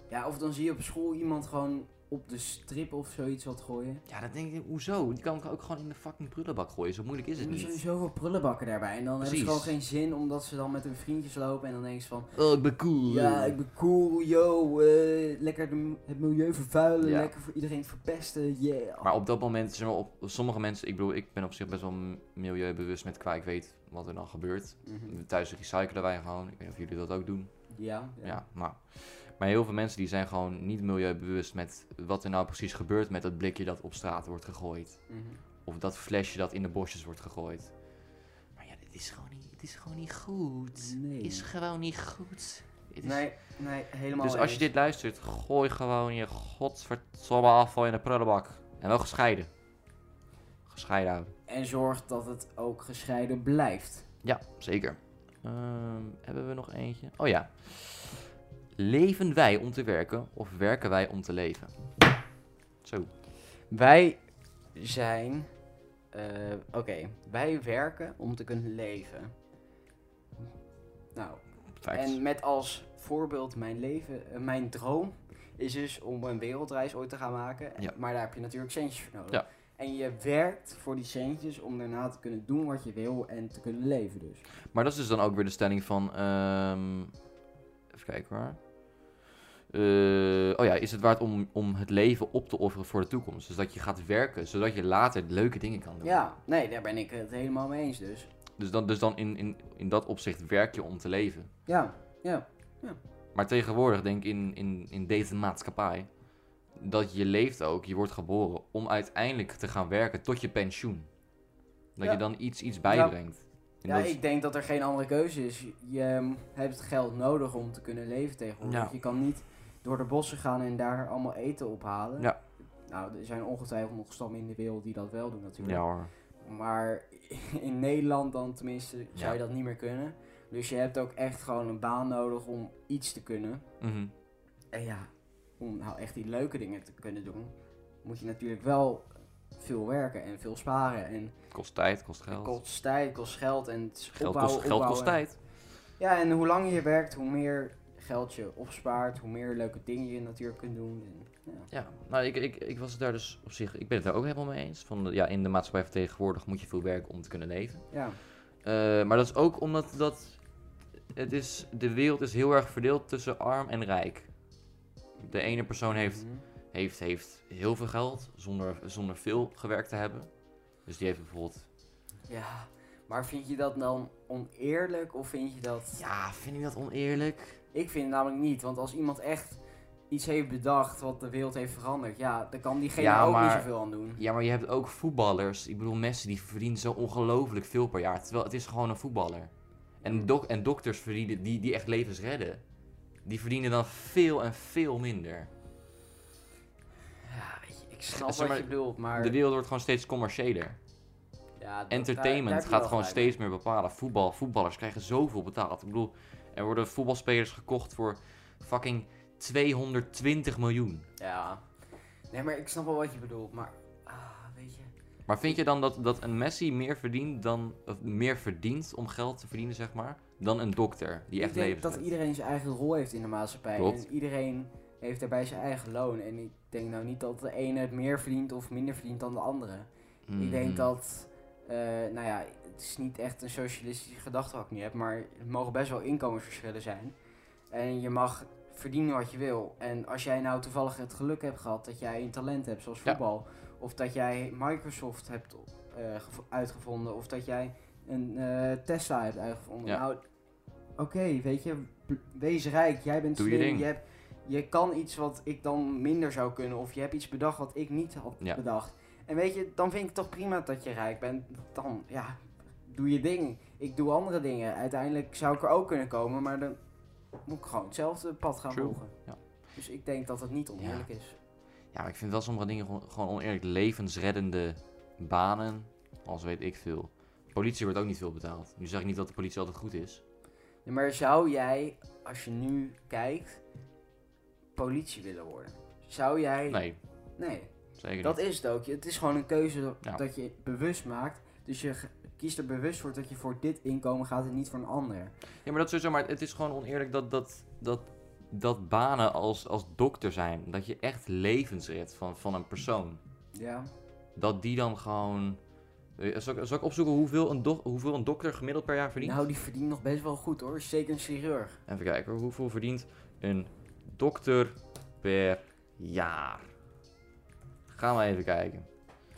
A: Ja, of dan zie je op school iemand gewoon op de strip of zoiets wat gooien.
B: Ja, dan denk ik, hoezo? Die kan ik ook gewoon in de fucking prullenbak gooien, zo moeilijk is het
A: Er zijn
B: niet.
A: zoveel prullenbakken daarbij. En dan hebben ze
B: Precies.
A: gewoon geen zin omdat ze dan met hun vriendjes lopen. En dan denken ze van...
B: Oh, ik ben cool.
A: Ja, ik ben cool, yo. eh, lekker de- het milieu vervuilen.
B: Ja.
A: Lekker voor iedereen verpesten, yeah.
B: Maar op dat moment, zeg maar, op sommige mensen, ik bedoel, ik ben op zich best wel m- milieubewust met qua, ik weet wat er dan gebeurt.
A: Mhm.
B: Thuis recyclen wij gewoon, ik weet niet of jullie dat ook doen.
A: Ja,
B: Ja,
A: ja.
B: nou. Maar heel veel mensen die zijn gewoon niet milieubewust met wat er nou precies gebeurt met dat blikje dat op straat wordt gegooid.
A: Mhm.
B: Of dat flesje dat in de bosjes wordt gegooid. Maar ja, dit is gewoon niet, het is gewoon niet goed.
A: Nee.
B: Is gewoon niet goed. Het is-
A: Nee, nee, helemaal
B: Dus als je
A: eens.
B: dit luistert, gooi gewoon je godverdomme afval in de prullenbak. En wel gescheiden. Gescheiden houden.
A: En zorg dat het ook gescheiden blijft.
B: Ja, zeker. Ehm, hebben we nog eentje? Oh ja. Leven wij om te werken of werken wij om te leven? Zo.
A: Wij zijn... eh, Oké, wij werken om te kunnen leven. Nou,
B: Facts.
A: En met als voorbeeld mijn leven, eh, mijn droom is dus om een wereldreis ooit te gaan maken.
B: Ja.
A: Maar daar heb je natuurlijk centjes voor nodig.
B: Ja.
A: En je werkt voor die centjes om daarna te kunnen doen wat je wil en te kunnen leven dus.
B: Maar dat is dus dan ook weer de stelling van... ehm, even kijken hoor. Eh, oh ja, is het waard om, om het leven op te offeren voor de toekomst? Dus dat je gaat werken, zodat je later leuke dingen kan doen.
A: Ja, nee, daar ben ik het helemaal mee eens dus.
B: Dus dan, dus dan in, in, in dat opzicht werk je om te leven.
A: Ja, ja.
B: Maar tegenwoordig, denk ik, in, in, in deze maatschappij dat je leeft ook, je wordt geboren, om uiteindelijk te gaan werken tot je pensioen. Dat
A: Ja.
B: je dan iets, iets bijbrengt. En
A: Ja,
B: dat is-
A: ik denk dat er geen andere keuze is. Je ehm, hebt geld nodig om te kunnen leven tegenwoordig.
B: Ja.
A: Je kan niet door de bossen gaan en daar allemaal eten ophalen.
B: Ja.
A: Nou, er zijn ongetwijfeld nog stammen in de wereld die dat wel doen natuurlijk.
B: ja hoor.
A: Maar in Nederland dan tenminste zou je
B: Ja.
A: dat niet meer kunnen. Dus je hebt ook echt gewoon een baan nodig om iets te kunnen.
B: Mhm.
A: En ja, om nou echt die leuke dingen te kunnen doen, moet je natuurlijk wel veel werken en veel sparen. En
B: Het kost tijd, kost
A: het
B: geld.
A: kost tijd, het kost geld en het is
B: Geld
A: opbouwen,
B: kost, geld kost
A: opbouwen.
B: tijd.
A: Ja, en hoe langer je werkt, hoe meer geld je opspaart, hoe meer leuke dingen je natuurlijk kunt doen. En, ja.
B: Ja, nou, ik, ik, ik was het daar dus op zich, ik ben het daar ook helemaal mee eens. Van, ja, in de maatschappij van tegenwoordig moet je veel werken om te kunnen leven.
A: ja.
B: Eh, maar dat is ook omdat dat, het is, de wereld is heel erg verdeeld tussen arm en rijk. De ene persoon heeft,
A: Mhm.
B: heeft, heeft heel veel geld zonder, zonder veel gewerkt te hebben. Dus die heeft bijvoorbeeld...
A: Ja, maar vind je dat dan oneerlijk of vind je dat...
B: Ja, vind ik dat oneerlijk?
A: Ik vind het namelijk niet, want als iemand echt iets heeft bedacht wat de wereld heeft veranderd, ja, dan kan diegene
B: Ja,
A: ook niet
B: maar-
A: zoveel aan doen.
B: Ja, maar je hebt ook voetballers. Ik bedoel, mensen die verdienen zo ongelooflijk veel per jaar. Terwijl het is gewoon een voetballer. En, dok en dokters verdienen, die, die echt levens redden, die verdienen dan veel en veel minder.
A: Ja, weet je, ik snap
B: Zeg maar,
A: wat je bedoelt, maar...
B: De wereld wordt gewoon steeds commerciëler.
A: ja, dat- Nou, daar- daar
B: Entertainment
A: heb je
B: gaat
A: wel
B: gewoon
A: gelijk.
B: steeds meer bepalen. Voetbal, voetballers krijgen zoveel betaald. Ik bedoel, er worden voetbalspelers gekocht voor fucking 220 miljoen.
A: Ja. Nee, maar ik snap wel wat je bedoelt, maar... Ah, weet je...
B: Maar vind je dan dat, dat een Messi meer verdient, dan, of meer verdient om geld te verdienen, zeg maar, dan een dokter die echt
A: ik denk
B: levens
A: dat
B: redt?
A: iedereen zijn eigen rol heeft in de maatschappij.
B: Klopt.
A: En iedereen heeft daarbij zijn eigen loon. En ik denk nou niet dat de ene het meer verdient of minder verdient dan de andere. Ik denk
B: Mm.
A: dat, eh, nou ja, het is niet echt een socialistische gedachte wat ik nu heb, maar er mogen best wel inkomensverschillen zijn. En je mag verdienen wat je wil. En als jij nou toevallig het geluk hebt gehad dat jij een talent hebt, zoals
B: Ja.
A: voetbal, of dat jij Microsoft hebt eh, gevo- uitgevonden, of dat jij een eh, Tesla hebt uitgevonden.
B: Ja.
A: Nou, oké, weet je, b- wees rijk, jij bent
B: Doe je
A: slim,
B: ding.
A: je hebt je kan iets wat ik dan minder zou kunnen. Of je hebt iets bedacht wat ik niet had
B: Ja.
A: bedacht. En weet je, dan vind ik het toch prima dat je rijk bent. Dan, ja, doe je ding. Ik doe andere dingen. Uiteindelijk zou ik er ook kunnen komen, maar dan moet ik gewoon hetzelfde pad gaan
B: True,
A: volgen.
B: ja.
A: Dus ik denk dat het niet oneerlijk is.
B: Ja, maar ik vind wel sommige dingen gewoon, gewoon oneerlijk. Levensreddende banen, als weet ik veel. Politie wordt ook niet veel betaald. Nu zeg ik niet dat de politie altijd goed is.
A: Ja, maar zou jij, als je nu kijkt, politie willen worden? Zou jij...
B: Nee,
A: Nee.
B: zeker
A: Dat
B: niet.
A: is het ook. Het is gewoon een keuze
B: Ja.
A: dat je bewust maakt. Dus je ge- kiest er bewust voor dat je voor dit inkomen gaat en niet voor een ander.
B: Ja, maar dat sowieso. Maar het is gewoon oneerlijk dat, dat, dat, dat banen als, als dokter zijn. Dat je echt levens redt van, van een persoon.
A: Ja.
B: Dat die dan gewoon... Eh, Zal ik, zal ik opzoeken hoeveel een, dok- hoeveel een dokter gemiddeld per jaar verdient?
A: Nou, die verdient nog best wel goed hoor. Is Zeker een chirurg.
B: Even kijken, hoor. hoeveel verdient een dokter per jaar? Gaan we even kijken.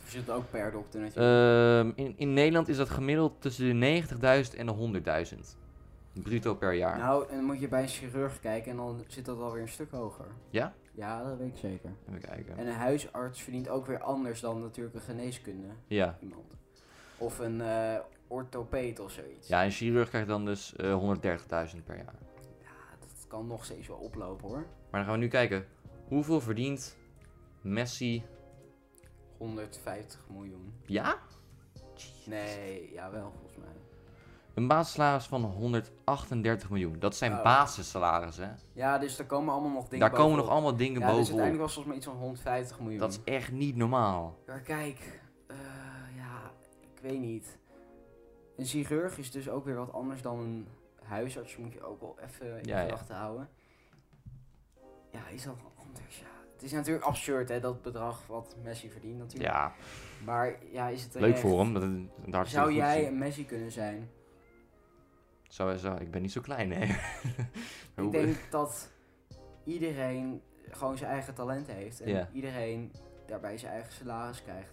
A: Of zit ook per dokter natuurlijk.
B: Ehm, in, in Nederland is dat gemiddeld tussen de 90.000 en de 100.000. Bruto per jaar.
A: Nou, en dan moet je bij een chirurg kijken en dan zit dat alweer een stuk hoger.
B: Ja?
A: Ja, dat weet ik zeker.
B: Even kijken.
A: En een huisarts verdient ook weer anders dan natuurlijk een geneeskunde
B: Ja.
A: iemand. Of een eh orthopeed of zoiets.
B: ja, een chirurg krijgt dan dus eh, 130.000 per jaar.
A: Ja, dat kan nog steeds wel oplopen hoor.
B: Maar dan gaan we nu kijken. Hoeveel verdient Messi?
A: 150 miljoen.
B: Ja?
A: Nee, jawel volgens mij.
B: Een basissalaris van 138 miljoen. Dat zijn
A: Oh.
B: basissalarissen. hè?
A: Ja, dus daar komen allemaal nog dingen
B: Daar komen nog
A: bovenop.
B: allemaal dingen
A: Ja, dus
B: bovenop.
A: uiteindelijk was het volgens mij iets van 150 miljoen.
B: Dat is echt niet normaal.
A: Maar kijk, eh, ja, ik weet niet. Een chirurg is dus ook weer wat anders dan een huisarts, moet je ook wel even in
B: Ja, ja.
A: gedachten houden. Ja, is dat wel anders, ja. Het is natuurlijk absurd, hè, dat bedrag wat Messi verdient natuurlijk.
B: Ja,
A: Maar ja, is het
B: leuk
A: terecht?
B: voor hem. Dat, dat hartstikke
A: Zou
B: goed
A: jij
B: is.
A: een Messi kunnen zijn?
B: Zou, zou, ik ben niet zo klein, hè?
A: Ik denk dat iedereen gewoon zijn eigen talent heeft. En
B: Ja.
A: iedereen daarbij zijn eigen salaris krijgt.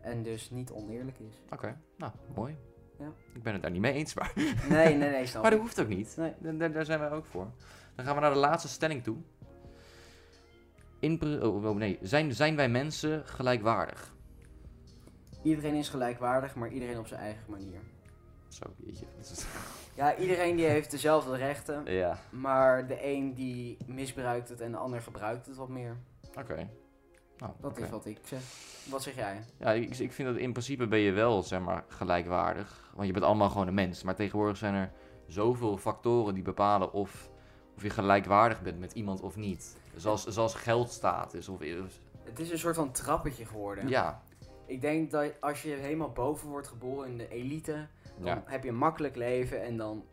A: En dus niet oneerlijk is.
B: Oké, nou, mooi.
A: Ja.
B: Ik ben het daar niet mee eens, maar,
A: Nee, nee, nee, snap
B: maar
A: ik.
B: dat hoeft ook niet.
A: Nee.
B: Daar, daar- daar zijn wij ook voor. Dan gaan we naar de laatste stelling toe. in, oh, oh, nee, zijn, zijn wij mensen gelijkwaardig?
A: Iedereen is gelijkwaardig, maar iedereen op zijn eigen manier.
B: Zo, jeetje. dat is-
A: Ja, iedereen die heeft dezelfde rechten,
B: Ja,
A: maar de een die misbruikt het en de ander gebruikt het wat meer.
B: oké. Nou,
A: Dat
B: oké.
A: is wat ik zeg. Wat zeg jij?
B: Ja, ik, ik vind dat in principe ben je wel, zeg maar, gelijkwaardig. Want je bent allemaal gewoon een mens. Maar tegenwoordig zijn er zoveel factoren die bepalen of, of je gelijkwaardig bent met iemand of niet. Zoals, zoals geldstatus. Of,
A: Het is een soort van trappetje geworden.
B: ja,
A: Ik denk dat als je helemaal boven wordt geboren in de elite, dan
B: ja,
A: heb je een makkelijk leven en dan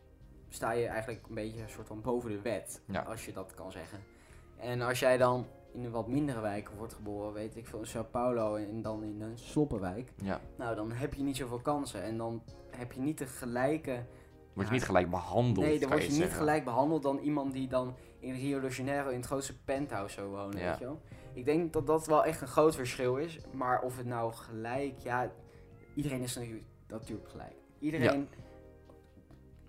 A: sta je eigenlijk een beetje een soort van boven de wet,
B: Ja.
A: als je dat kan zeggen. En als jij dan in een wat mindere wijk wordt geboren, weet ik veel, in Sao Paulo en dan in een sloppenwijk,
B: ja.
A: nou dan heb je niet zoveel kansen en dan heb je niet de gelijke...
B: Word je niet gelijk behandeld,
A: nee, dan
B: kan
A: word je niet
B: zeggen.
A: gelijk behandeld dan iemand die dan in Rio de Janeiro in het grootste penthouse zou wonen,
B: Ja.
A: weet je wel. Ik denk dat dat wel echt een groot verschil is, maar of het nou gelijk, ja, iedereen is natuurlijk, natuurlijk gelijk. Iedereen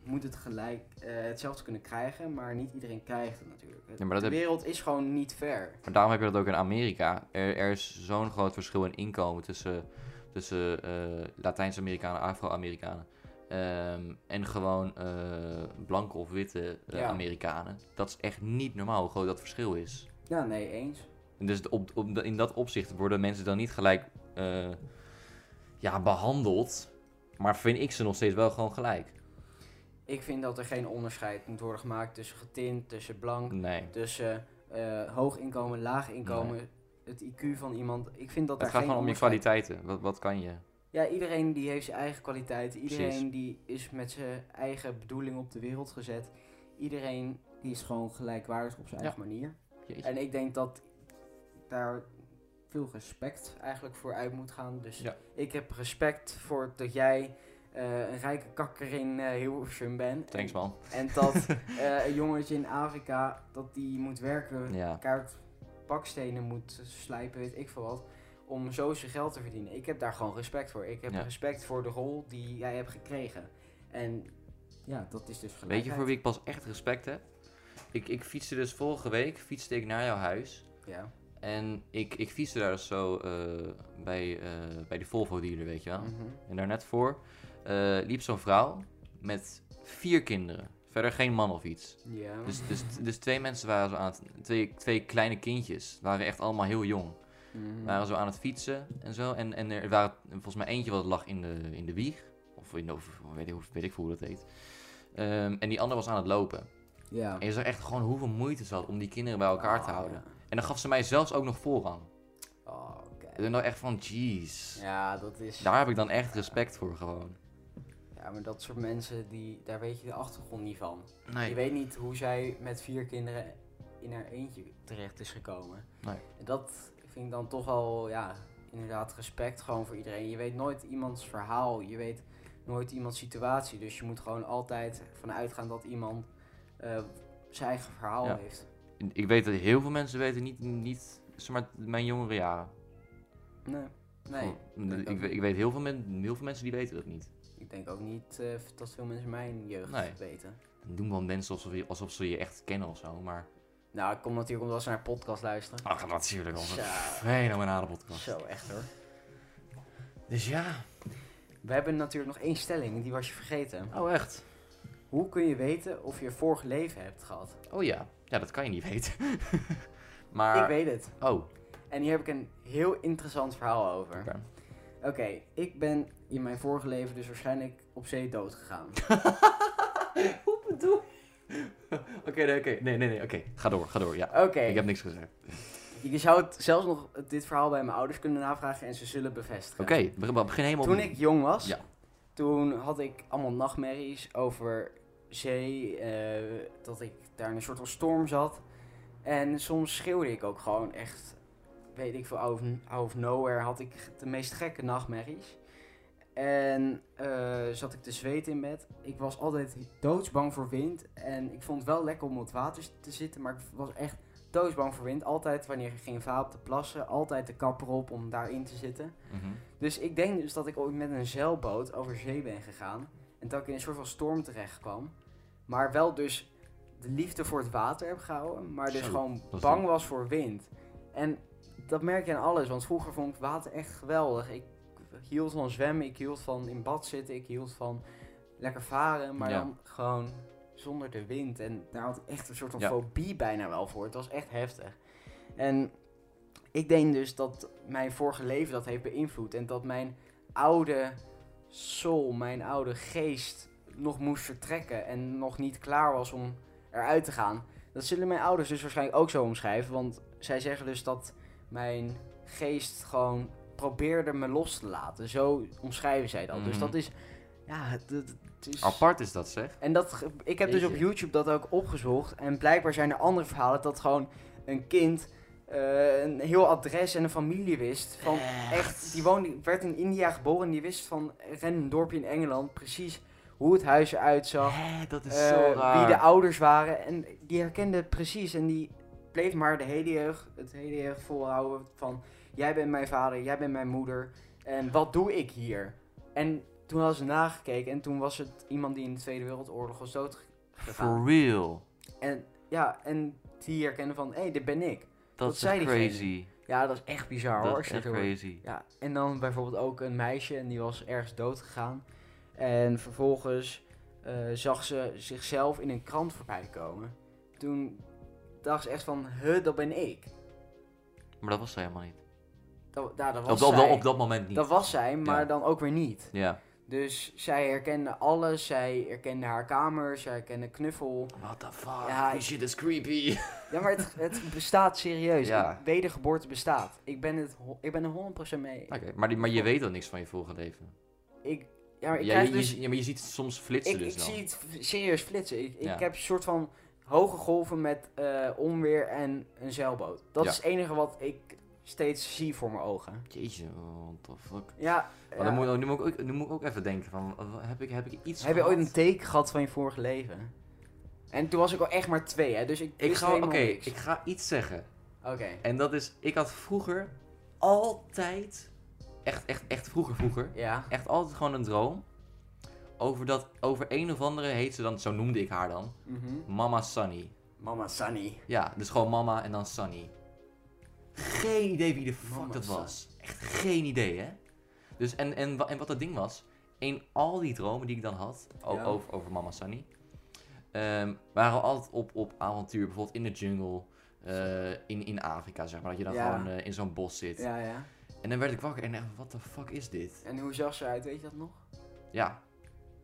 A: moet het gelijk, eh, hetzelfde kunnen krijgen, maar niet iedereen krijgt het natuurlijk.
B: Ja, maar
A: de
B: dat heb-
A: wereld is gewoon niet fair.
B: Maar daarom heb je dat ook in Amerika. Er, er is zo'n groot verschil in inkomen tussen, tussen eh, Latijns-Amerikanen, Afro-Amerikanen. ehm, en gewoon eh, blanke of witte eh,
A: Ja.
B: Amerikanen. Dat is echt niet normaal hoe groot dat verschil is.
A: Ja, nee, eens.
B: En dus op, op, in dat opzicht worden mensen dan niet gelijk eh, ja, behandeld. Maar vind ik ze nog steeds wel gewoon gelijk.
A: Ik vind dat er geen onderscheid moet worden gemaakt tussen getint, tussen blank,
B: Nee.
A: tussen eh, hoog inkomen, laag inkomen, het IQ van iemand. Ik vind dat
B: Het
A: daar
B: gaat
A: geen
B: gewoon om je
A: onderscheid-
B: kwaliteiten. Wat, wat kan je?
A: Ja, iedereen die heeft zijn eigen kwaliteit. Iedereen
B: Precies.
A: die is met zijn eigen bedoeling op de wereld gezet. Iedereen die is gewoon gelijkwaardig op zijn
B: Ja.
A: eigen manier.
B: Jeetje.
A: En ik denk dat daar veel respect eigenlijk voor uit moet gaan. Dus
B: Ja.
A: ik heb respect voor dat jij eh, een rijke kakker in eh Hilversum bent.
B: Thanks man.
A: En, en dat eh, een jongetje in Afrika, dat die moet werken
B: Ja.
A: kaart bakstenen moet slijpen, weet ik veel wat. Om zo zijn geld te verdienen. Ik heb daar gewoon respect voor. Ik heb
B: Ja.
A: respect voor de rol die jij hebt gekregen. En ja, dat is dus gelijk.
B: Weet je voor wie ik pas echt respect heb? Ik, ik fietste dus vorige week fietste ik naar jouw huis.
A: Ja.
B: En ik, ik fietste daar dus zo eh, bij, eh, bij de Volvo dealer, weet je wel.
A: Mhm.
B: En daarnet voor eh, liep zo'n vrouw met vier kinderen. Verder geen man of iets.
A: Ja.
B: Dus, dus,
A: Mhm.
B: dus twee mensen waren zo aan het... Twee, twee kleine kindjes. Waren echt allemaal heel jong.
A: Mhm.
B: Waren zo aan het fietsen en zo. En, en er waren volgens mij eentje wat lag in de, in de wieg. Of in de... Of, weet, ik, hoe- weet ik veel hoe dat heet. Ehm, en die ander was aan het lopen.
A: ja.
B: En je zag echt gewoon hoeveel moeite ze had om die kinderen bij elkaar te
A: Oh,
B: houden. En dan gaf ze mij zelfs ook nog voorrang.
A: ja. Oh, oké.
B: Ik ben dan echt van, jeez.
A: Ja, dat is.
B: Daar heb ik dan echt respect voor gewoon.
A: Ja, maar dat soort mensen, die, daar weet je de achtergrond niet van. Je
B: Nee.
A: weet niet hoe zij met vier kinderen in haar eentje terecht is gekomen.
B: Nee.
A: En dat vind ik dan toch al, ja, inderdaad respect gewoon voor iedereen. Je weet nooit iemands verhaal, je weet nooit iemands situatie. Dus je moet gewoon altijd vanuit gaan dat iemand eh, zijn eigen verhaal
B: Ja.
A: heeft.
B: Ik weet dat heel veel mensen weten niet, niet zeg maar, mijn jongere jaren.
A: Nee. Nee,
B: Gewoon,
A: ik
B: ik,
A: ook
B: weet- ik weet heel veel, men, heel veel mensen die weten dat niet.
A: ik denk ook niet eh, dat veel mensen mijn jeugd
B: Nee.
A: weten.
B: Dan doen wel mensen alsof, je- alsof ze je echt kennen of zo, maar...
A: Nou, dat komt natuurlijk omdat ze naar podcast luisteren.
B: Ach, natuurlijk, onze
A: Zo.
B: fenomenale podcast.
A: Zo, echt hoor.
B: Dus ja.
A: We hebben natuurlijk nog één stelling, die was je vergeten.
B: Oh, echt?
A: Hoe kun je weten of je een vorig leven hebt gehad?
B: Oh ja. Ja, dat kan je niet weten. maar...
A: Ik weet het.
B: Oh,
A: En hier heb ik een heel interessant verhaal over. Oké,
B: oké.
A: ik ben in mijn vorige leven dus waarschijnlijk op zee dood gegaan.
B: Hoe bedoel Oké, nee, oké. Nee, nee, nee. Oké, ga door, ga door. Ja.
A: Oké,
B: Ik heb niks gezegd.
A: je zou het zelfs nog dit verhaal bij mijn ouders kunnen navragen en ze zullen bevestigen.
B: Oké, we we begin helemaal
A: Toen
B: opnieuw.
A: ik jong was,
B: Ja.
A: toen had ik allemaal nachtmerries over zee, eh, dat ik daar in een soort van storm zat. En soms schreeuwde ik ook gewoon echt, weet ik veel, out of, out of nowhere had ik de meest gekke nachtmerries. En eh, zat ik te zweten in bed. Ik was altijd doodsbang voor wind. En ik vond het wel lekker om op het water te zitten, maar ik was echt doodsbang voor wind. Altijd wanneer ik ging vaap te plassen, altijd de kapper op om daarin te zitten.
B: Mhm.
A: Dus ik denk dus dat ik ooit met een zeilboot over zee ben gegaan. En dat ik in een soort van storm terecht kwam. Maar wel dus de liefde voor het water heb gehouden. Maar dus
B: Zo,
A: gewoon
B: dat is
A: bang
B: wel-
A: was voor wind. En dat merk je aan alles, want vroeger vond ik water echt geweldig. Ik hield van zwemmen, ik hield van in bad zitten, ik hield van lekker varen, maar
B: Ja.
A: dan gewoon zonder de wind. En daar had ik echt een soort van
B: Ja.
A: fobie bijna wel voor. Het was echt heftig. En ik denk dus dat mijn vorige leven dat heeft beïnvloed en dat mijn oude soul, mijn oude geest nog moest vertrekken en nog niet klaar was om eruit te gaan. Dat zullen mijn ouders dus waarschijnlijk ook zo omschrijven, want zij zeggen dus dat mijn geest gewoon probeerde me los te laten. Zo omschrijven zij dat. Dus
B: Mhm.
A: dat is, ja, het, het- het is...
B: Apart is dat zeg.
A: En dat, ge- ik heb dus
B: Jeetje.
A: op YouTube dat ook opgezocht. En blijkbaar zijn er andere verhalen dat gewoon een kind eh, een heel adres en een familie wist.
B: Eh.
A: Van echt? die woonde, werd in India geboren en die wist van een random dorpje in Engeland precies hoe het huis eruit zag.
B: Hé, dat is
A: eh,
B: zo raar.
A: wie de ouders waren. En die herkende het precies. En die bleef maar de hele jeugd, het hele jeugd volhouden van... Jij bent mijn vader, jij bent mijn moeder. En wat doe ik hier? En toen hadden ze nagekeken. En toen was het iemand die in de Tweede Wereldoorlog was doodgegaan.
B: For real.
A: En ja, en die herkennen van... Hé, hey, dit ben ik.
B: Dat
A: Wat
B: is
A: zei
B: echt
A: diegene?
B: crazy.
A: Ja, dat is echt bizar hoor.
B: Dat
A: als
B: is
A: je het
B: echt
A: hoort.
B: crazy.
A: Ja, en dan bijvoorbeeld ook een meisje en die was ergens dood gegaan. En vervolgens eh, zag ze zichzelf in een krant voorbij komen. Toen dacht ze echt van, huh, dat ben ik.
B: Maar dat was zij helemaal niet.
A: Dat, nou, dat
B: Op,
A: was
B: op,
A: zij.
B: op dat moment niet.
A: dat was zij, maar
B: Ja.
A: dan ook weer niet.
B: Ja.
A: Dus zij herkende alles, zij herkende haar kamer, zij herkende knuffel.
B: What the fuck?
A: Ja,
B: Die
A: ik-
B: shit is creepy.
A: Ja, maar het, het bestaat serieus.
B: Ja.
A: Wedergeboorte bestaat. Ik ben, het, ho- ik ben er 100% mee.
B: Oké, maar, die- maar je weet dan niks van je vorige leven.
A: Ik, ja, maar ik
B: Ja,
A: krijg
B: je,
A: dus...
B: je, ja, maar je ziet het soms flitsen
A: Ik,
B: dus
A: ik
B: dan.
A: zie het f- serieus flitsen. Ik,
B: Ja.
A: ik heb een soort van hoge golven met eh, onweer en een zeilboot. Dat
B: Ja.
A: is het enige wat ik steeds zie voor mijn ogen.
B: Jeetje, what the fuck.
A: Ja,
B: Maar
A: ja.
B: dan moet, nu, moet ik ook, nu moet ik ook even denken van, eh, heb ik, heb ik iets
A: heb je
B: gehad?
A: ooit een teken gehad van je vorige leven? En toen was ik al echt maar twee, hè? Dus ik,
B: Ik
A: wist
B: ga, oké,
A: helemaal niks.
B: ik ga iets zeggen.
A: Oké.
B: En dat is, ik had vroeger altijd, echt, echt, echt vroeger, vroeger,
A: Ja.
B: echt altijd gewoon een droom. Over dat, over een of andere heet ze dan, zo noemde ik haar dan,
A: Mhm.
B: Mama Sunny.
A: Mama Sunny.
B: Ja, dus gewoon mama en dan Sunny. Geen idee wie de fuck
A: Mama
B: dat
A: Sunny.
B: was. Echt geen idee, hè? Dus en, en, wa- en wat dat ding was, in al die dromen die ik dan had o-
A: Ja.
B: over, over mama Sunny, ehm, waren we altijd op, op avontuur, bijvoorbeeld in de jungle, eh, in, in Afrika, zeg maar. Dat je dan
A: Ja.
B: gewoon eh, in zo'n bos zit.
A: Ja, ja.
B: En dan werd ik wakker en dacht, wat de fuck is dit?
A: En hoe zag ze eruit, weet je dat nog?
B: Ja,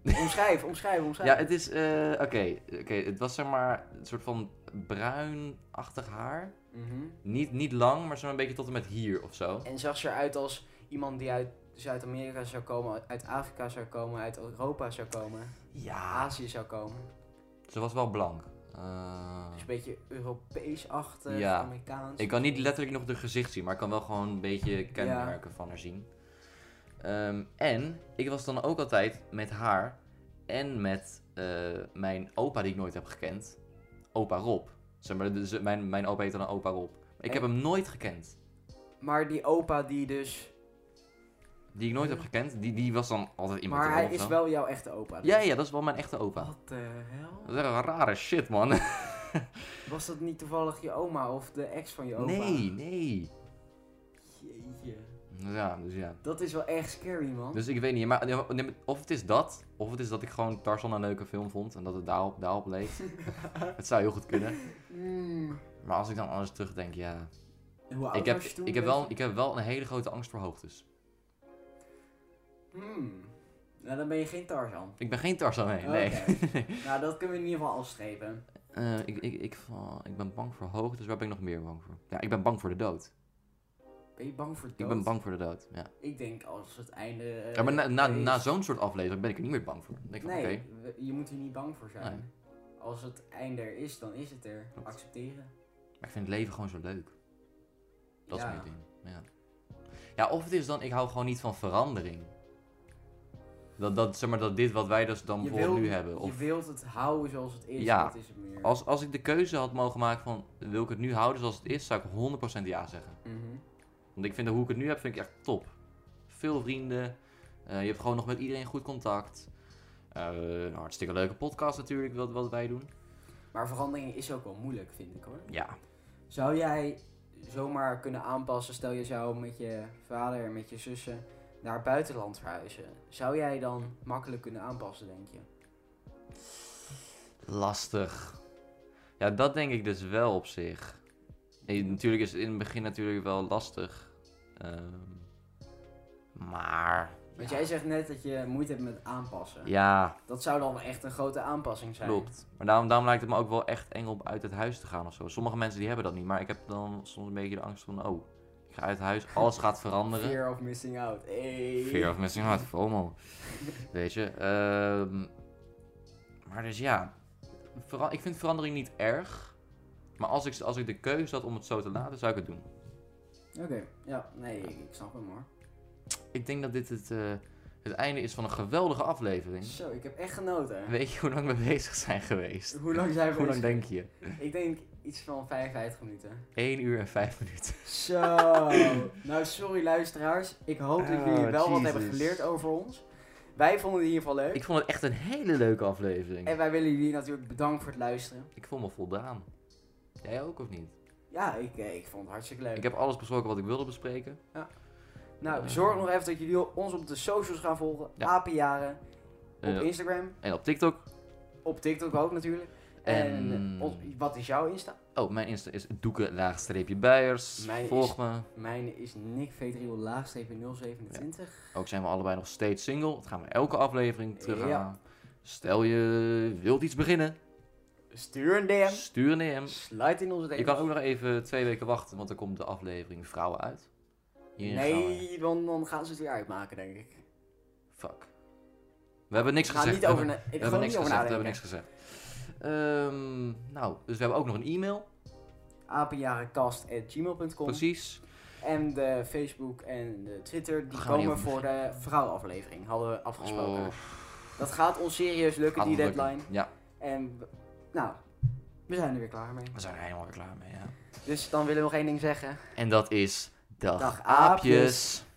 A: Omschrijf, omschrijf, omschrijf.
B: Ja, het is. eh, Oké, oké, het was zeg maar een soort van bruinachtig haar.
A: Mhm.
B: Niet, niet lang, maar zo'n beetje tot en met hier of zo.
A: En zag ze eruit als iemand die uit Zuid-Amerika zou komen, uit Afrika zou komen, uit Europa zou komen,
B: Ja.
A: Azië zou komen.
B: Ah. Ze was wel blank. Eh,
A: Dus een beetje Europees-achtig,
B: Ja.
A: Amerikaans.
B: ik kan niet letterlijk nog de gezicht zien, maar ik kan wel gewoon een beetje kenmerken van haar zien. Ehm, en ik was dan ook altijd met haar en met eh, mijn opa die ik nooit heb gekend. Opa Rob. Zeg maar, dus mijn, mijn opa heet dan opa Rob. Ik heb
A: En-
B: hem nooit gekend.
A: Maar die opa die dus...
B: Die ik nooit heb gekend, die, die was dan altijd iemand
A: maar
B: erom
A: hij
B: of
A: is
B: zo.
A: wel Oh. jouw echte opa. dus.
B: Ja, ja, dat is wel mijn echte opa.
A: Wat de hel?
B: Dat is echt een rare shit, man.
A: Was dat niet toevallig je oma of de ex van je opa?
B: Nee, nee.
A: Jeetje.
B: Ja, dus ja.
A: Dat is wel echt scary, man.
B: Dus ik weet niet, maar ja, maar of het is dat, of het is dat ik gewoon Tarzan een leuke film vond en dat het daarop, daarop leek. het zou heel goed kunnen.
A: Mm.
B: Maar als ik dan alles terugdenk, ja.
A: Hoe oud
B: Ik heb,
A: was je toen?
B: ik, heb
A: weet
B: wel,
A: je?
B: ik heb wel een hele grote angst voor hoogtes.
A: Mm. Nou, dan ben je geen Tarzan.
B: Ik ben geen Tarzan, nee. nee.
A: nou, dat kunnen we in ieder geval afstrepen.
B: Eh, ik, ik, ik, val- ik ben bang voor hoogtes, waar ben ik nog meer bang voor? Ja, ik ben bang voor de dood.
A: Ben je bang voor dood? Eh,
B: Ik ben bang voor de dood, ja.
A: Ik denk als het einde... eh,
B: Ja, maar na, na,
A: er is-
B: na zo'n soort aflevering ben ik er niet meer bang voor. Dan denk ik van,
A: nee,
B: oké.
A: we- je moet hier niet bang voor zijn.
B: Nee.
A: Als het einde er is, dan is het er.
B: Klopt.
A: Accepteren.
B: Maar ik vind het leven gewoon zo leuk. Dat
A: Ja.
B: is mijn ding. Ja. ja, of het is dan, ik hou gewoon niet van verandering. Dat, dat, zeg maar, dat dit wat wij dus dan
A: je
B: bijvoorbeeld
A: wilt-
B: nu hebben.
A: Je
B: Of
A: wilt het houden zoals het is.
B: Ja,
A: Dat is het meer.
B: als, als ik de keuze had mogen maken van, wil ik het nu houden zoals het is, zou ik 100% ja zeggen.
A: Mhm.
B: Want ik vind hoe ik het nu heb, vind ik echt top. Veel vrienden. eh, je hebt gewoon nog met iedereen goed contact. Eh, een hartstikke leuke podcast natuurlijk, wat, wat wij doen.
A: Maar verandering is ook wel moeilijk, vind ik hoor.
B: Ja,
A: Zou jij zomaar kunnen aanpassen. Stel je zou met je vader en met je zussen naar het buitenland verhuizen. Zou jij dan makkelijk kunnen aanpassen, denk je?
B: Lastig. Ja, dat denk ik dus wel op zich. Nee, natuurlijk is het in het begin natuurlijk wel lastig. Ehm, maar...
A: Want
B: ja.
A: jij zegt net dat je moeite hebt met aanpassen.
B: Ja,
A: Dat zou dan echt een grote aanpassing zijn.
B: klopt. Maar daarom, daarom lijkt het me ook wel echt eng om uit het huis te gaan of zo. Sommige mensen die hebben dat niet, maar ik heb dan soms een beetje de angst van... Oh, ik ga uit huis, alles gaat veranderen.
A: Fear of missing out. Hey.
B: Fear of missing out, FOMO. Weet je. ehm, maar dus ja. vera- ik vind verandering niet erg. Maar als ik, als ik de keuze had om het zo te laten, zou ik het doen.
A: Oké, ja, nee, ik, ik snap hem hoor.
B: Ik denk dat dit het, eh, het einde is van een geweldige aflevering.
A: Zo, ik heb echt genoten.
B: Weet je hoe lang we bezig zijn geweest?
A: Hoe lang zijn we
B: Hoe lang
A: bezig?
B: denk je?
A: Ik denk iets van 55 minuten.
B: 1 uur en 5 minuten.
A: Zo. nou, sorry luisteraars. Ik hoop dat jullie
B: Oh,
A: wel wat hebben
B: Jesus.
A: geleerd over ons. Wij vonden het in ieder geval leuk.
B: Ik vond het echt een hele leuke aflevering.
A: En wij willen jullie natuurlijk bedanken voor het luisteren.
B: Ik voel me voldaan. Jij ook of niet?
A: Ja, ik, eh, ik vond het hartstikke leuk.
B: Ik heb alles besproken wat ik wilde bespreken.
A: Nou, zorg nog even dat jullie ons op de socials gaan volgen.
B: Ja.
A: Apenjaren. Op
B: Eh,
A: Instagram.
B: en op TikTok.
A: Op TikTok ook natuurlijk. En,
B: En-
A: eh, ons- wat is jouw Insta?
B: Oh, mijn Insta is doeken-bijers.
A: Mijn
B: Volg
A: is-
B: me.
A: Mijn is Nick V3 laagstreepje 027.
B: Ook zijn we allebei nog steeds single. Dat gaan we elke aflevering terug
A: Ja.
B: aan. Stel je wilt iets beginnen,
A: Stuur een DM.
B: stuur een DM.
A: Sluit in onze DM.
B: Je kan ook nog even twee weken wachten, want dan komt de aflevering Vrouwen uit. Hierin gaan we-
A: Nee, dan, dan gaan ze het weer uitmaken, denk ik.
B: Fuck. We hebben niks
A: Ik ga
B: gezegd.
A: niet
B: We
A: over,
B: hebben-
A: na-
B: we
A: ik ga
B: hebben
A: er
B: niks
A: niet over
B: gezegd. We
A: nadenken.
B: hebben niks gezegd. Ehm, nou, dus we hebben ook nog een e-mail.
A: apenjarencast.gmail.com
B: Precies.
A: En de Facebook en de Twitter, die
B: Gaan we niet
A: komen
B: over
A: voor de vrouwenaflevering, hadden we afgesproken.
B: Oh,
A: Dat gaat ons serieus lukken,
B: gaat
A: die
B: het lukken.
A: deadline.
B: Ja,
A: En we- nou, we zijn er weer klaar mee.
B: we zijn er helemaal weer klaar mee. Ja.
A: Dus dan willen we nog één ding zeggen.
B: En dat is. Dag,
A: Dag,
B: aapjes.